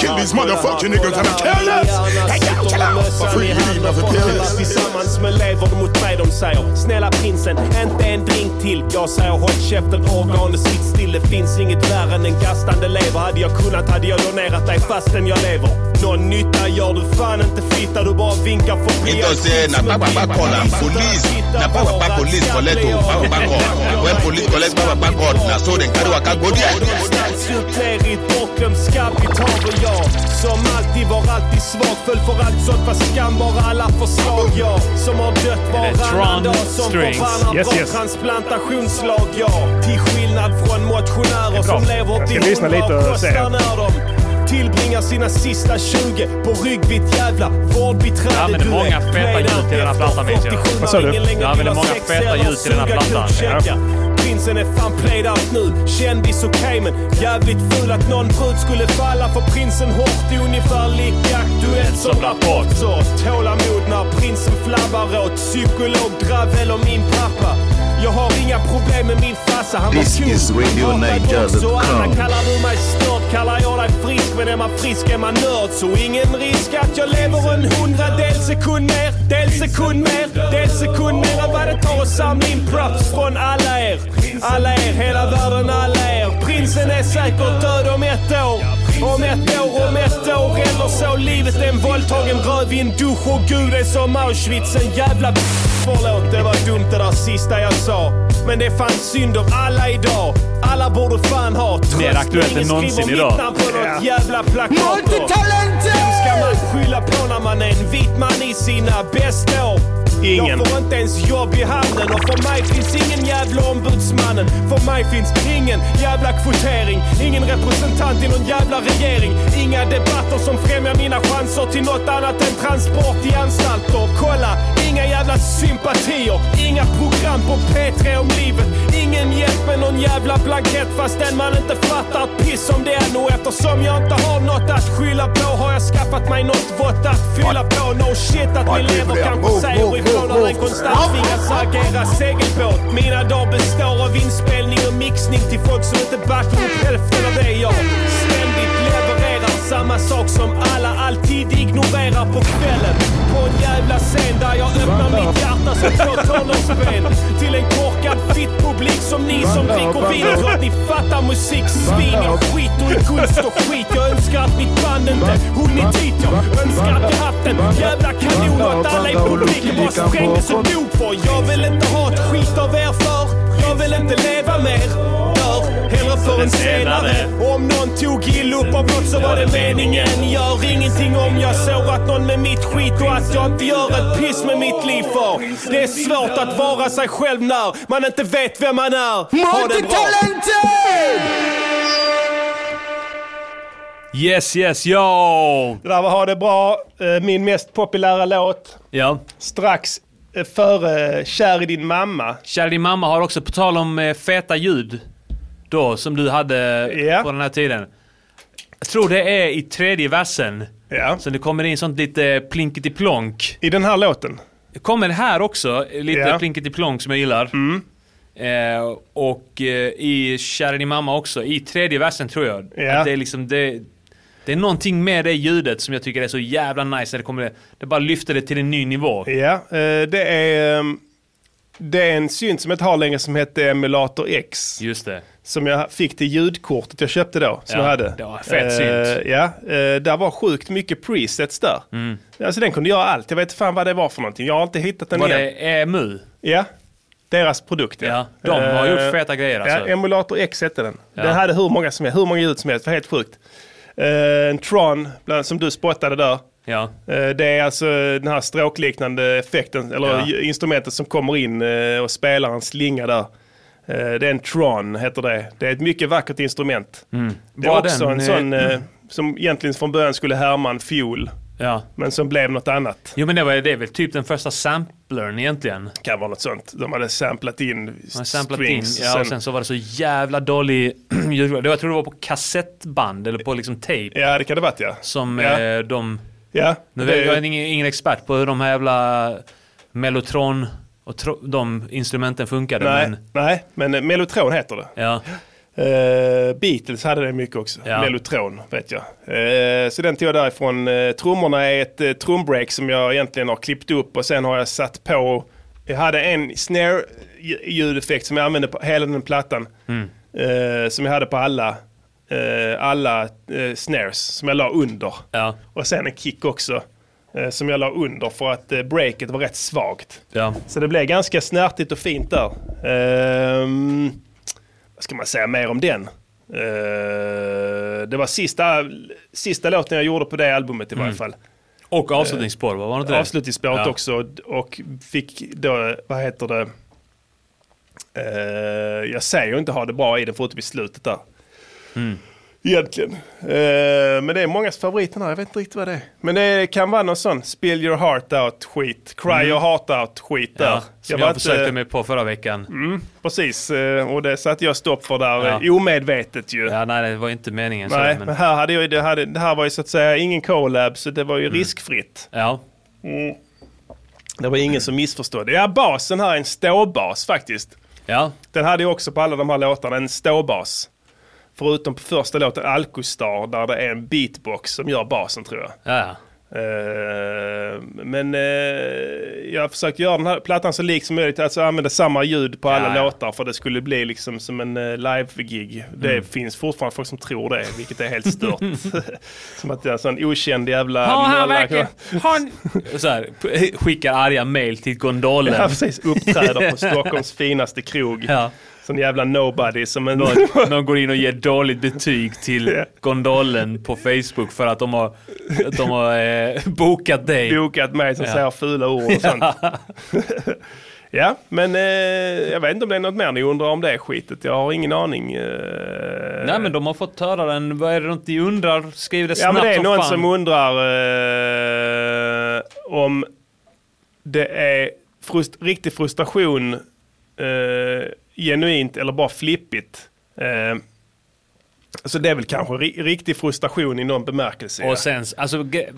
Kill these motherfucking niggas and I kill us! Hey, yo, kill us! A free lead of a killers. Tillsammans med lever mot mig de säger Snälla prinsen, inte en drink till. Jag säger håll käften organ och sitt still. Det finns inget värre än en gastande lever. Hade jag kunnat hade jag donerat dig fastän jag lever. Någon nytta gör du fan inte fitta. Du bara vinkar förbi. It was uh, na baba bako na police na baba bako police collect o baba bako when police collect more bank card. Now so then carry waka go there. Ställs upp ner i ett bortglömt skall i taver jag Som alltid var alltid svag, föll för allt sånt var skam bara alla förslag jag Som har dött varannan Tron dag som Strings. förvandlar Yes, yes, yes. transplantationslag jag Till skillnad från motionärer som lever Jag ska till lyssna hundra lite och och se. kostar när de Tillbringar sina sista 20 på ryggvitt jävla vårdbiträde Jag använder du är. många feta ljud till den här plattan minns jag. Vad sa du? Jag använder många feta ljud till den här plattan. Ja. Prinsen är fan played out nu. Kändis okej men jävligt ful att någon brud skulle falla för prinsen hårt. Det är ungefär lika aktuellt som Rapport. Så tålamod när prinsen flabbar åt psykolog, dravel om min pappa. Jag har inga problem med min farsa, han This var cool. is Radio Han hatade Niger också dot alla. com. Kallar du mig störd kallar jag dig frisk. Men är man frisk är man nörd. Så ingen risk att jag lever en hundradel sekund mer. Del sekund mer. Del sekund mer än vad det tar att samla in props från alla er. Alla er, hela världen, alla er. Prinsen är säkert död om ett år. Om ett år, om ett år eller så. Livet är en våldtagen röv i en dusch och Gud är som Auschwitz. En jävla... Förlåt, det var dumt det där sista jag sa. Men det är fan synd om alla idag. Alla borde fan ha tröst. Mer aktuellt än Ingen någonsin skriver mitt idag. namn på något Ja. jävla plakat. Multitalenter! Vem ska man skylla på när man är en vit man i sina bästa år? Ingen. Jag får inte ens jobb i handen och för mig finns ingen jävla ombudsmannen. För mig finns ingen jävla kvotering. Ingen representant i någon jävla regering. Inga debatter som främjar mina chanser till något annat än transport i anstalter. Kolla, inga jävla sympatier. Inga program på P3 om livet. Ingen hjälp med någon jävla blankett fastän man inte fattar ett piss om det ännu. Eftersom jag inte har något att skylla på har jag skaffat mig något vått att fylla på. No shit att min lever kanske säger ifrån när den konstant tvingas agera segelbåt. Mina dagar består av inspelning och mixning till folk som inte backar upp hälften av det jag ständigt levererar. Samma sak som alla alltid ignorerar på kvällen. På en jävla scen där jag öppnar mitt hjärta som två tonårsben. Till en korkad fitt publik som ni som dricker vin tror att ni fattar musik. Svin, jag skiter i kunst och skit. Jag önskar att mitt band inte hunnit dit. Jag önskar att jag haft en jävla kanon och att alla i publiken bara sprängdes och dog för. Jag vill inte ha ett skit av er för. Jag vill inte leva mer. Dör hellre för en senare. Om någon tog illa upp av något så var det meningen. Gör ingenting om jag sårat någon med mitt skit och att jag inte gör ett piss med mitt liv för. Det är svårt att vara sig själv när man inte vet vem man är. Ha det bra! Yes, yes, yo! Det där var Ha det bra, eh, min mest populära låt. Ja. Strax eh, före Kär i din mamma. Kär i din mamma har också, på tal om eh, feta ljud då, som du hade Ja. på den här tiden. Jag tror det är i tredje versen. Så det kommer in sånt lite plinketiplonk. I den här låten? Det kommer här också, lite Ja. Mm. plinketiplonk som jag gillar. Eh, och eh, i Kär i din mamma också, i tredje versen tror jag. Ja. Att det är liksom det... Det är någonting med det ljudet som jag tycker är så jävla nice. När det, kommer, det bara lyfter det till en ny nivå. Ja, eh, det är, ehm, det är en synt som jag inte har längre som hette Emulator X. Just det. Som jag fick till ljudkortet jag köpte då, som Ja, jag hade. det var fett Eh, synt. Mm. Ja, eh, där var sjukt mycket presets där. Alltså den kunde göra allt. Jag vet fan vad det var för någonting. Jag har inte hittat den Var igen. det EMU? Ja, deras produkt. Ja, de har Eh, gjort feta grejer, alltså. Ja, Emulator X hette den. Ja. Den hade hur många, som helst, hur många ljud som helst, det var helt sjukt. Eh, en Tron, bland, som du spottade där. Ja. Eh, det är alltså den här stråkliknande effekten, eller Ja. ju- instrumentet som kommer in eh, och spelar en slinga där. Eh, det är en Tron, heter det. Det är ett mycket vackert instrument. Det är Mm. Var också den, en sån eh, eh, som egentligen från början skulle härma en fiol, Ja. men som blev något annat. Jo men det, var, det är väl typ den första samplern egentligen. Kan vara något sånt. De hade samplat in Man samplat in, strings. ja, och sen så var det så jävla dålig ljudkvalitet. Jag tror det var på kassettband eller på liksom tejp. Ja det kan det varit ja. Som Ja. eh, de... Ja, nu det- vet, jag är ingen, ingen expert på hur de här jävla mellotron och tro, de instrumenten funkade. nej, Men, nej, men eh, Mellotron heter det. ja. Eh, Beatles hade det mycket också. Ja. Mellotron vet jag. Eh, så den tog jag därifrån. Uh, trummorna är ett uh, trumbreak som jag egentligen har klippt upp och sen har jag satt på. Jag hade en snare-ljudeffekt som jag använde på hela den plattan. Mm. Eh, som jag hade på alla, eh, alla eh, snares som jag la under. Och sen en kick också eh, som jag la under för att eh, breaket var rätt svagt. Ja. Så det blev ganska snärtigt och fint där. Ehm, vad ska man säga mer om den? Eh, det var sista, sista låten jag gjorde på det albumet i varje Mm. fall. Och avslutningsspår, vad var det inte det? Avslutningsspåret Ja. också. Och fick då, vad heter det? Eh, jag säger ju inte ha det bra i den förutom i slutet där. Mm. Egentligen. Eh, men det är mångas favorit den här, jag vet inte riktigt vad det är. Men det kan vara någon sån spill your heart out skit, cry Mm. your heart out skit där. Ja, som jag, var försökte inte- mig på förra veckan. eh, Mm, precis, Eh, och det satte jag stopp för där, Ja. eh, omedvetet ju. Ja, nej, det var inte meningen. Nej, så, men här, hade jag, ju- det, hade, det här var ju så att säga ingen collab, så det var Mm. ju riskfritt. Ja. Mm. Det var ingen som missförstod det. Ja, basen här är en ståbas faktiskt. Ja. Den hade jag också på alla de här låtarna, en ståbas. Förutom på första låten, Alcostar, där det är en beatbox som gör basen tror jag. Ja. Eh, men eh, jag har försökt göra den här plattan så lik som möjligt, alltså använda samma ljud på alla Ja, ja. låtar för det skulle bli liksom som en eh, live-gig. Det Mm. finns fortfarande folk som tror det, vilket är helt stört. som att jag är en sån okänd jävla... Har han nolla- verkligen- har han- Så här, p- skickar arga mail till gondolen. Ja, precis. Uppträder på Stockholms finaste krog. Ja. Sån jävla nobody som en... Någon, någon går in och ger dåligt betyg till gondolen på Facebook för att de har, att de har eh, bokat dig. Bokat mig som säger fula ord och sånt. Ja, men eh, jag vet inte om det är något mer ni undrar om det skitet. Jag har ingen aning. eh. Nej men de har fått höra den. Vad är det de inte undrar? Skriv det ja, snabbt men det är som någon fan. som undrar eh, om det är frust riktig frustration eh, genuint eller bara flippigt. Eh, så det är väl kanske ri riktig frustration i någon bemärkelse. ja. Och sen, alltså, ge-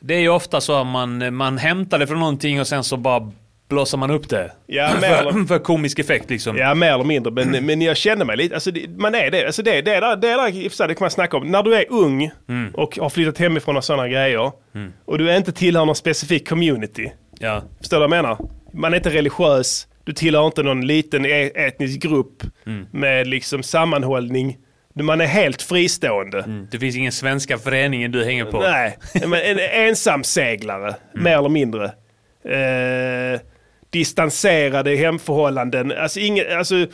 det är ju ofta så att man, man hämtar det från någonting och sen så bara blåser man upp det. Ja, mer för, eller- för komisk effekt liksom. Ja, mer eller mindre. Mm. Men, men jag känner mig lite, alltså det, man är det. Alltså det, det, är där, det, är där, i och för sig, det kan man snacka om. När du är ung Mm. och har flyttat hemifrån och sådana grejer Mm. och du inte tillhör någon specifik community. Ja. Förstår du vad jag menar? Man är inte religiös, du tillhör inte någon liten e- etnisk grupp Mm. med liksom sammanhållning. Man är helt fristående. Mm. Det finns ingen svenska föreningen du hänger på. Nej, men en ensamseglare, mer eller mindre. Eh, distanserade hemförhållanden. Alltså, ingen, alltså,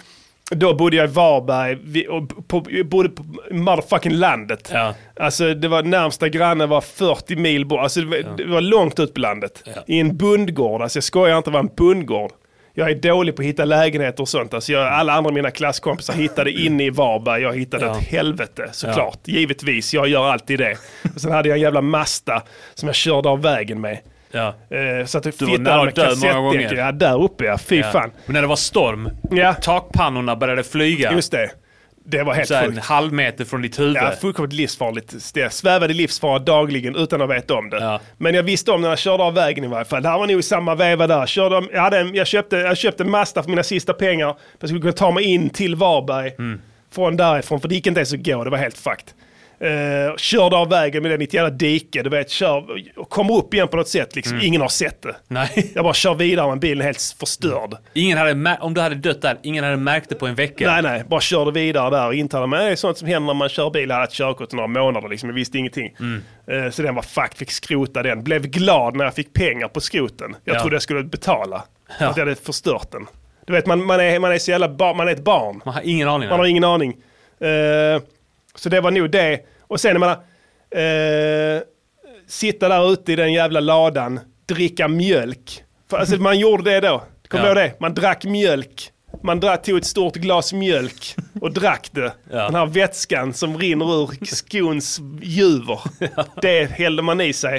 då bodde jag i Varberg, vi, och på, jag bodde på motherfucking landet. Alltså, det var, närmsta grannen var 40 mil bort. Alltså, det, var, det var långt ut på landet. I en bundgård, alltså jag skojar inte, det var en bundgård. Jag är dålig på att hitta lägenheter och sånt. Alltså jag, alla andra mina klasskompisar hittade inne i Varberg. Jag hittade ett helvete såklart. Givetvis, jag gör alltid det. Och sen hade jag en jävla Masta som jag körde av vägen med. Ja. Eh, så att Du var nära död många gånger. Ja, där uppe ja. Fy Ja. fan. Men när det var storm, takpannorna började flyga. Just det. Det var helt så här, en sjukt. halv meter från ditt huvud. Ja, fullkomligt livsfarligt. Det svävade i livsfara dagligen utan att veta om det. Men jag visste om när jag körde av vägen i varje fall. Det här var nog i samma veva där. Körde, om- jag, hade en, jag, köpte, jag köpte en Mazda för mina sista pengar. Jag skulle kunna ta mig in till Varberg från därifrån, för det gick inte ens att gå. Det var helt fucked. Uh, körde av vägen med den i ett jävla dike, du vet, kör, och kommer upp igen på något sätt, liksom. ingen har sett det. Nej. Jag bara kör vidare med bilen är helt förstörd. Ingen hade mä- om du hade dött där, ingen hade märkt det på en vecka. Nej, nej, bara körde vidare där och intalade mig. Det är sånt som händer när man kör bil. Jag hade ett körkort i några månader, liksom. jag visste ingenting. Mm. Eh, Så den var fucked, fick skrota den. Blev glad när jag fick pengar på skroten. Jag Ja. trodde jag skulle betala. för Att jag hade förstört den. Du vet, man, man, är, man är så jävla bar, man är ett barn. Man har ingen aning. Man har ingen aning. Eh, så det var nog det. Och sen, jag menar, eh, sitta där ute i den jävla ladan, dricka mjölk. För, alltså, man gjorde det då. Kommer Ja. du ihåg det? Man drack mjölk. Man drack, tog ett stort glas mjölk och drack det. Den här vätskan som rinner ur skons juver. Det hällde man i sig.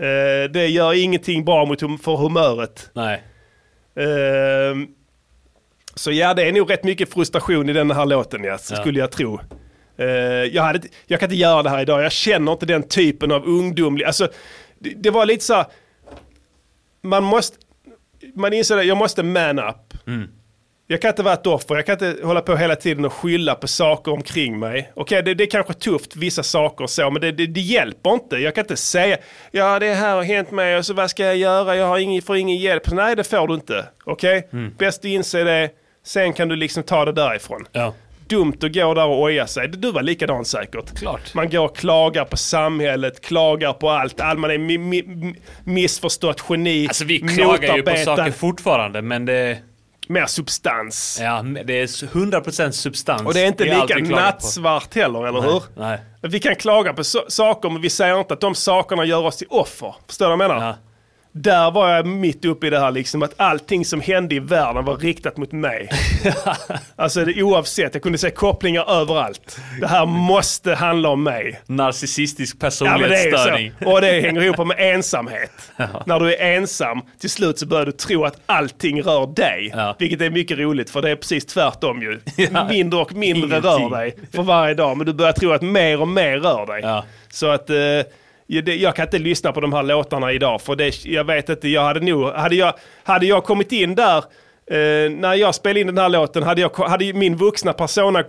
Eh, det gör ingenting bra mot hum- för humöret. Nej. Ehm, så ja, det är nog rätt mycket frustration i den här låten, ja, så Ja. skulle jag tro. Eh, jag, hade, jag kan inte göra det här idag, jag känner inte den typen av ungdomlig... Alltså, det, det var lite så här, Man måste... Man insåg att jag måste man up. Jag kan inte vara ett offer, jag kan inte hålla på hela tiden och skylla på saker omkring mig. Okej, det, det är kanske tufft, vissa saker och så, men det, det, det hjälper inte. Jag kan inte säga, ja det här har hänt mig och så vad ska jag göra, jag har ingen, får ingen hjälp. Nej, det får du inte. Okej? Bäst att inse det, sen kan du liksom ta det därifrån. Dumt att gå där och oja sig. Du var likadan säkert. Klart. Man går och klagar på samhället, klagar på allt. All- Man är mi- mi- mi- missförstått geni, Alltså vi klagar ju på motarbetad. saker fortfarande, men det... mer substans. Ja, det är 100% substans. Och det är inte i allt lika Eh, vi klagar på. nattsvart heller, eller Nej, hur? nej. Vi kan klaga på so- saker, men vi säger inte att de sakerna gör oss till offer. Förstår du vad jag menar? Där var jag mitt uppe i det här liksom, att allting som hände i världen var riktat mot mig. alltså det, oavsett, jag kunde se kopplingar överallt. Det här måste handla om mig. Narcissistisk Ja, men det är ju personlighetsstörning. så. Och det hänger ihop med ensamhet. Ja. När du är ensam, till slut så börjar du tro att allting rör dig. Vilket är mycket roligt, för det är precis tvärtom ju. Mindre och mindre rör dig för varje dag, men du börjar tro att mer och mer rör dig. Så att eh, ja, det- jag kan inte lyssna på de här låtarna idag, för det, jag vet inte, jag hade nog, hade jag, hade jag kommit in där Eh, när jag spelade in den här låten hade, jag, hade ju min vuxna persona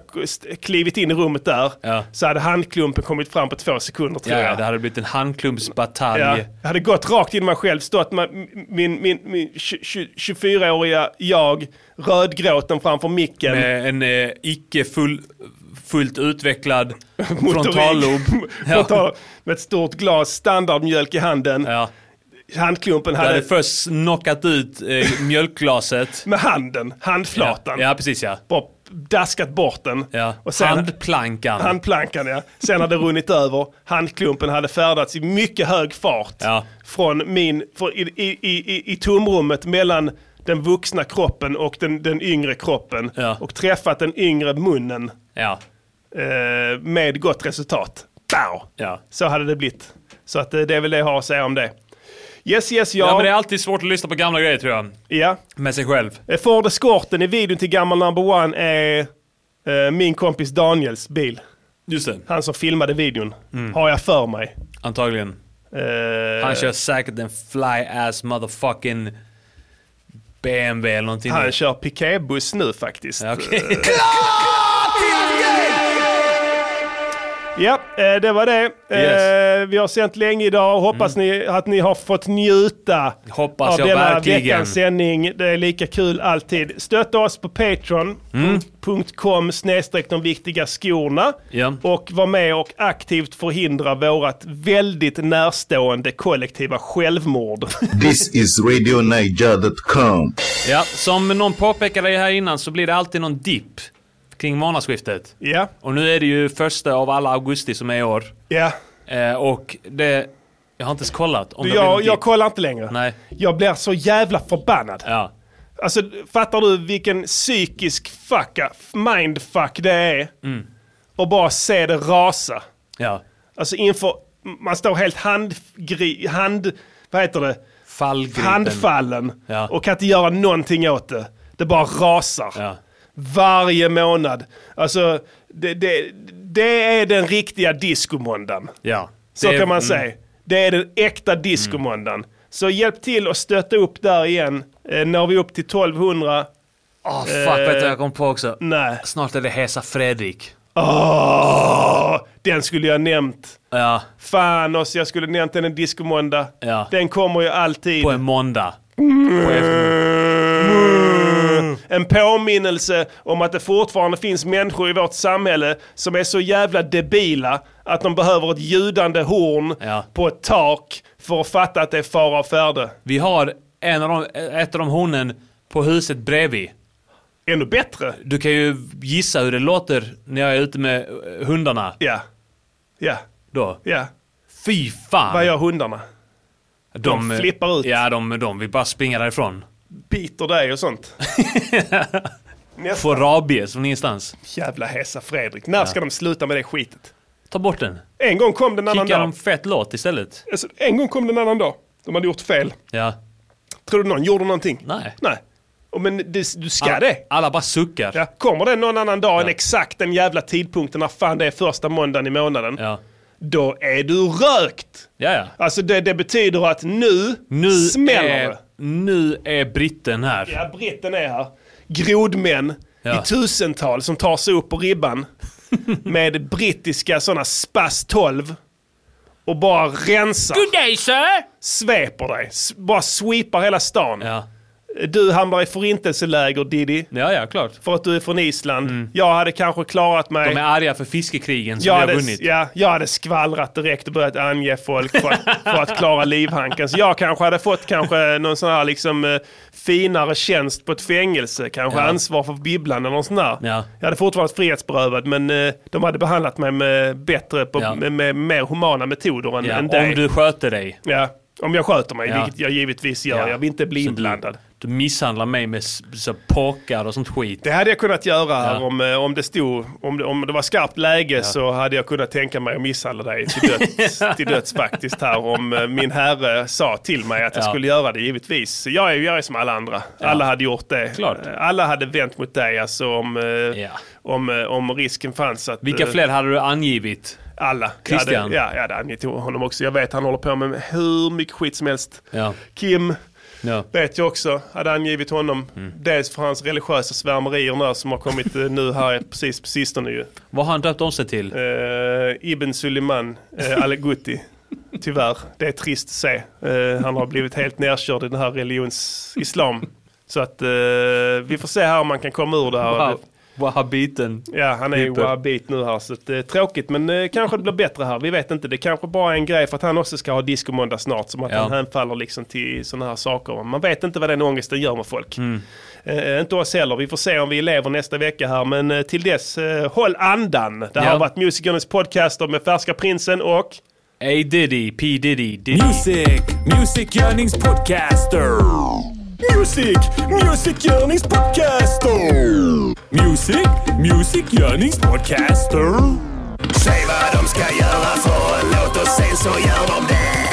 klivit in i rummet där så hade handklumpen kommit fram på två sekunder tror Ja, jag. ja, det hade blivit en handklumpsbatalj. Ja, jag hade gått rakt in i mig själv, stått med min, min, min 24-åriga jag, rödgråten framför micken. Med en eh, icke full, fullt utvecklad Motorik. frontallob. Frontal- med ett stort glas standardmjölk i handen. Handklumpen Jag hade hade... först knockat ut eh, mjölkglaset. Med handen, handflatan. Ja, ja precis ja. Bara daskat bort den. ja. Och sen- Handplankan. Handplankan ja. Sen hade det runnit över. Handklumpen hade färdats i mycket hög fart. Från min, för i, i, i, i- i tomrummet mellan den vuxna kroppen och den, den yngre kroppen. Och träffat den yngre munnen. Eh, med gott resultat. Pow! Så hade det blivit. Så att eh, det är väl det jag har att säga om det. Yes, yes, ja. Ja, men det är alltid svårt att lyssna på gamla grejer tror jag. Ja. Med sig själv. Eh, Ford Escorten i videon till gammal number one är eh, min kompis Daniels bil. Just det. Han som filmade videon, Mm. har jag för mig. Antagligen. Eh, han kör säkert en fly-ass motherfucking BMW eller någonting. Han kör piketbuss nu faktiskt. Okej. Ja, eh, det var det. Eh, Vi har sänt länge idag och hoppas ni, att ni har fått njuta Mm. Hoppas av jag denna verkligen. veckans sändning. Det är lika kul alltid. Stötta oss på Mm. patreon.com snedstreck de viktiga skorna Ja. och var med och aktivt förhindra vårat väldigt närstående kollektiva självmord. This is RadioNiger.com. Ja, som någon påpekade här innan så blir det alltid någon dipp kring månadsskiftet. Ja. Och nu är det ju första av alla augusti som är i år. Ja. Eh, och det... Jag har inte ens kollat om Du, det har jag, blivit jag dipp. kollar inte längre. Nej. Jag blir så jävla förbannad. Ja. Alltså, fattar du vilken psykisk fucka, mindfuck det är? Mm. Och bara se det rasa. Ja. Alltså inför, man står helt handgri, hand, vad heter det? Fallgripen. Handfallen. Och kan inte göra någonting åt det. Det bara rasar. Varje månad. Alltså, det, det, det är den riktiga discomåndagen. Ja. Så Det är- kan man mm. säga. Det är den äkta discomåndagen. Så hjälp till och stötta upp där igen. Eh, når vi upp till 1200. Åh, Ah, fuck, vet Eh, du vad jag kom på också? Nej. Snart är det Hesa Fredrik. Åh, den skulle jag nämnt. Ja. Fan också, jag skulle nämnt den en discomåndag. Ja. Den kommer ju alltid. På en måndag. På Eh, En påminnelse om att det fortfarande finns människor i vårt samhälle som är så jävla debila att de behöver ett ljudande horn på ett tak för att fatta att det är fara och färde. Vi har en av de, ett av de hornen på huset bredvid. Ännu bättre. Du kan ju gissa hur det låter när jag är ute med eh, hundarna. Ja. Ja. Då. Ja. Fy fan. Vad gör hundarna? de eh, flippar ut. Ja, de, de vill bara springa därifrån. Biter dig och sånt? Nästa. Får rabies från ingenstans. Jävla Hesa Fredrik. När ska Ja. de sluta med det skitet? Ta bort den. En gång kom den en annan Kicka dag. dem fett låt istället. Alltså, en gång kom den en annan dag. De hade gjort fel. Ja. Tror du någon gjorde någonting? Nej. Nej. Och Men det, du ska alla, det. Alla bara suckar. Eh. Ja, kommer det någon annan dag än exakt den jävla tidpunkten när fan det är första måndagen i månaden. Då är du rökt! Ja, ja. Alltså det, det betyder att nu, Nu smäller är, det. nu är britten här. Ja, britten är här. Grodmän i tusental som tar sig upp på ribban med brittiska sådana spas 12 och bara rensar. Good day sir! sveper dig. S- Bara sweepar hela stan. Du hamnar i förintelseläger Diddy. Ja, ja, klart. För att du är från Island. Jag hade kanske klarat mig. Mm. De är arga för fiskekrigen som jag vi har hade, vunnit. Ja, jag hade skvallrat direkt och börjat ange folk för att, för att klara livhanken. Så jag kanske hade fått kanske någon sån här liksom, eh, finare tjänst på ett fängelse. Kanske Ja. ansvar för bibblan eller något sånt där. Ja. Jag hade fortfarande varit frihetsberövad men eh, de hade behandlat mig med bättre, på, Ja. med, med mer humana metoder än, Ja, än om dig. du sköter dig. Ja, om jag sköter mig, Ja. vilket jag givetvis gör. Ja. Jag vill inte bli Så inblandad. Du misshandlar mig med s- så pokar och sånt skit. Det hade jag kunnat göra här Ja. om, eh, om, det stod, om, det, om det var skarpt läge Ja. så hade jag kunnat tänka mig att misshandla dig till döds, till döds faktiskt här om eh, min herre sa till mig att jag Ja. skulle göra det givetvis. Så Jag är, jag är som alla andra. Alla hade gjort det. Klart. Eh, Alla hade vänt mot dig alltså om, eh, om, eh, om risken fanns att... Vilka eh, fler hade du angivit? Alla. Jag Christian? hade, ja, jag hade angett honom också. Jag vet han håller på med hur mycket skit som helst. Ja. Kim Ja. vet jag också, hade angivit honom. Dels för hans religiösa svärmerier nu som har kommit eh, nu här precis på sistone ju. Vad har han döpt om sig till? Eh, Ibn Suleiman eh, Al-Ghuti. Tyvärr, det är trist att se. Eh, han har blivit helt nerkörd i den här religions islam. Så att eh, vi får se här om man kan komma ur det här. Wahab- Wahhabiten. Ja, han är ju Typen. wahhabit nu här så att det är tråkigt men eh, kanske det blir bättre här. Vi vet inte. Det kanske bara är en grej för att han också ska ha discomåndag snart som att Ja. han hänfaller liksom till sådana här saker. Man vet inte vad den ångesten gör med folk. Mm. Eh, inte oss heller. Vi får se om vi lever nästa vecka här men eh, till dess, eh, håll andan. Det här Ja. har varit Musikernas podcaster med Färska Prinsen och A Diddy, P Diddy, Diddy. Music, Music Yearnings Podcaster. Music, Music Yearnings Podcaster. Music, Music Yearnings Podcaster. Säg vad de ska göra för en låt och sen så gör de det.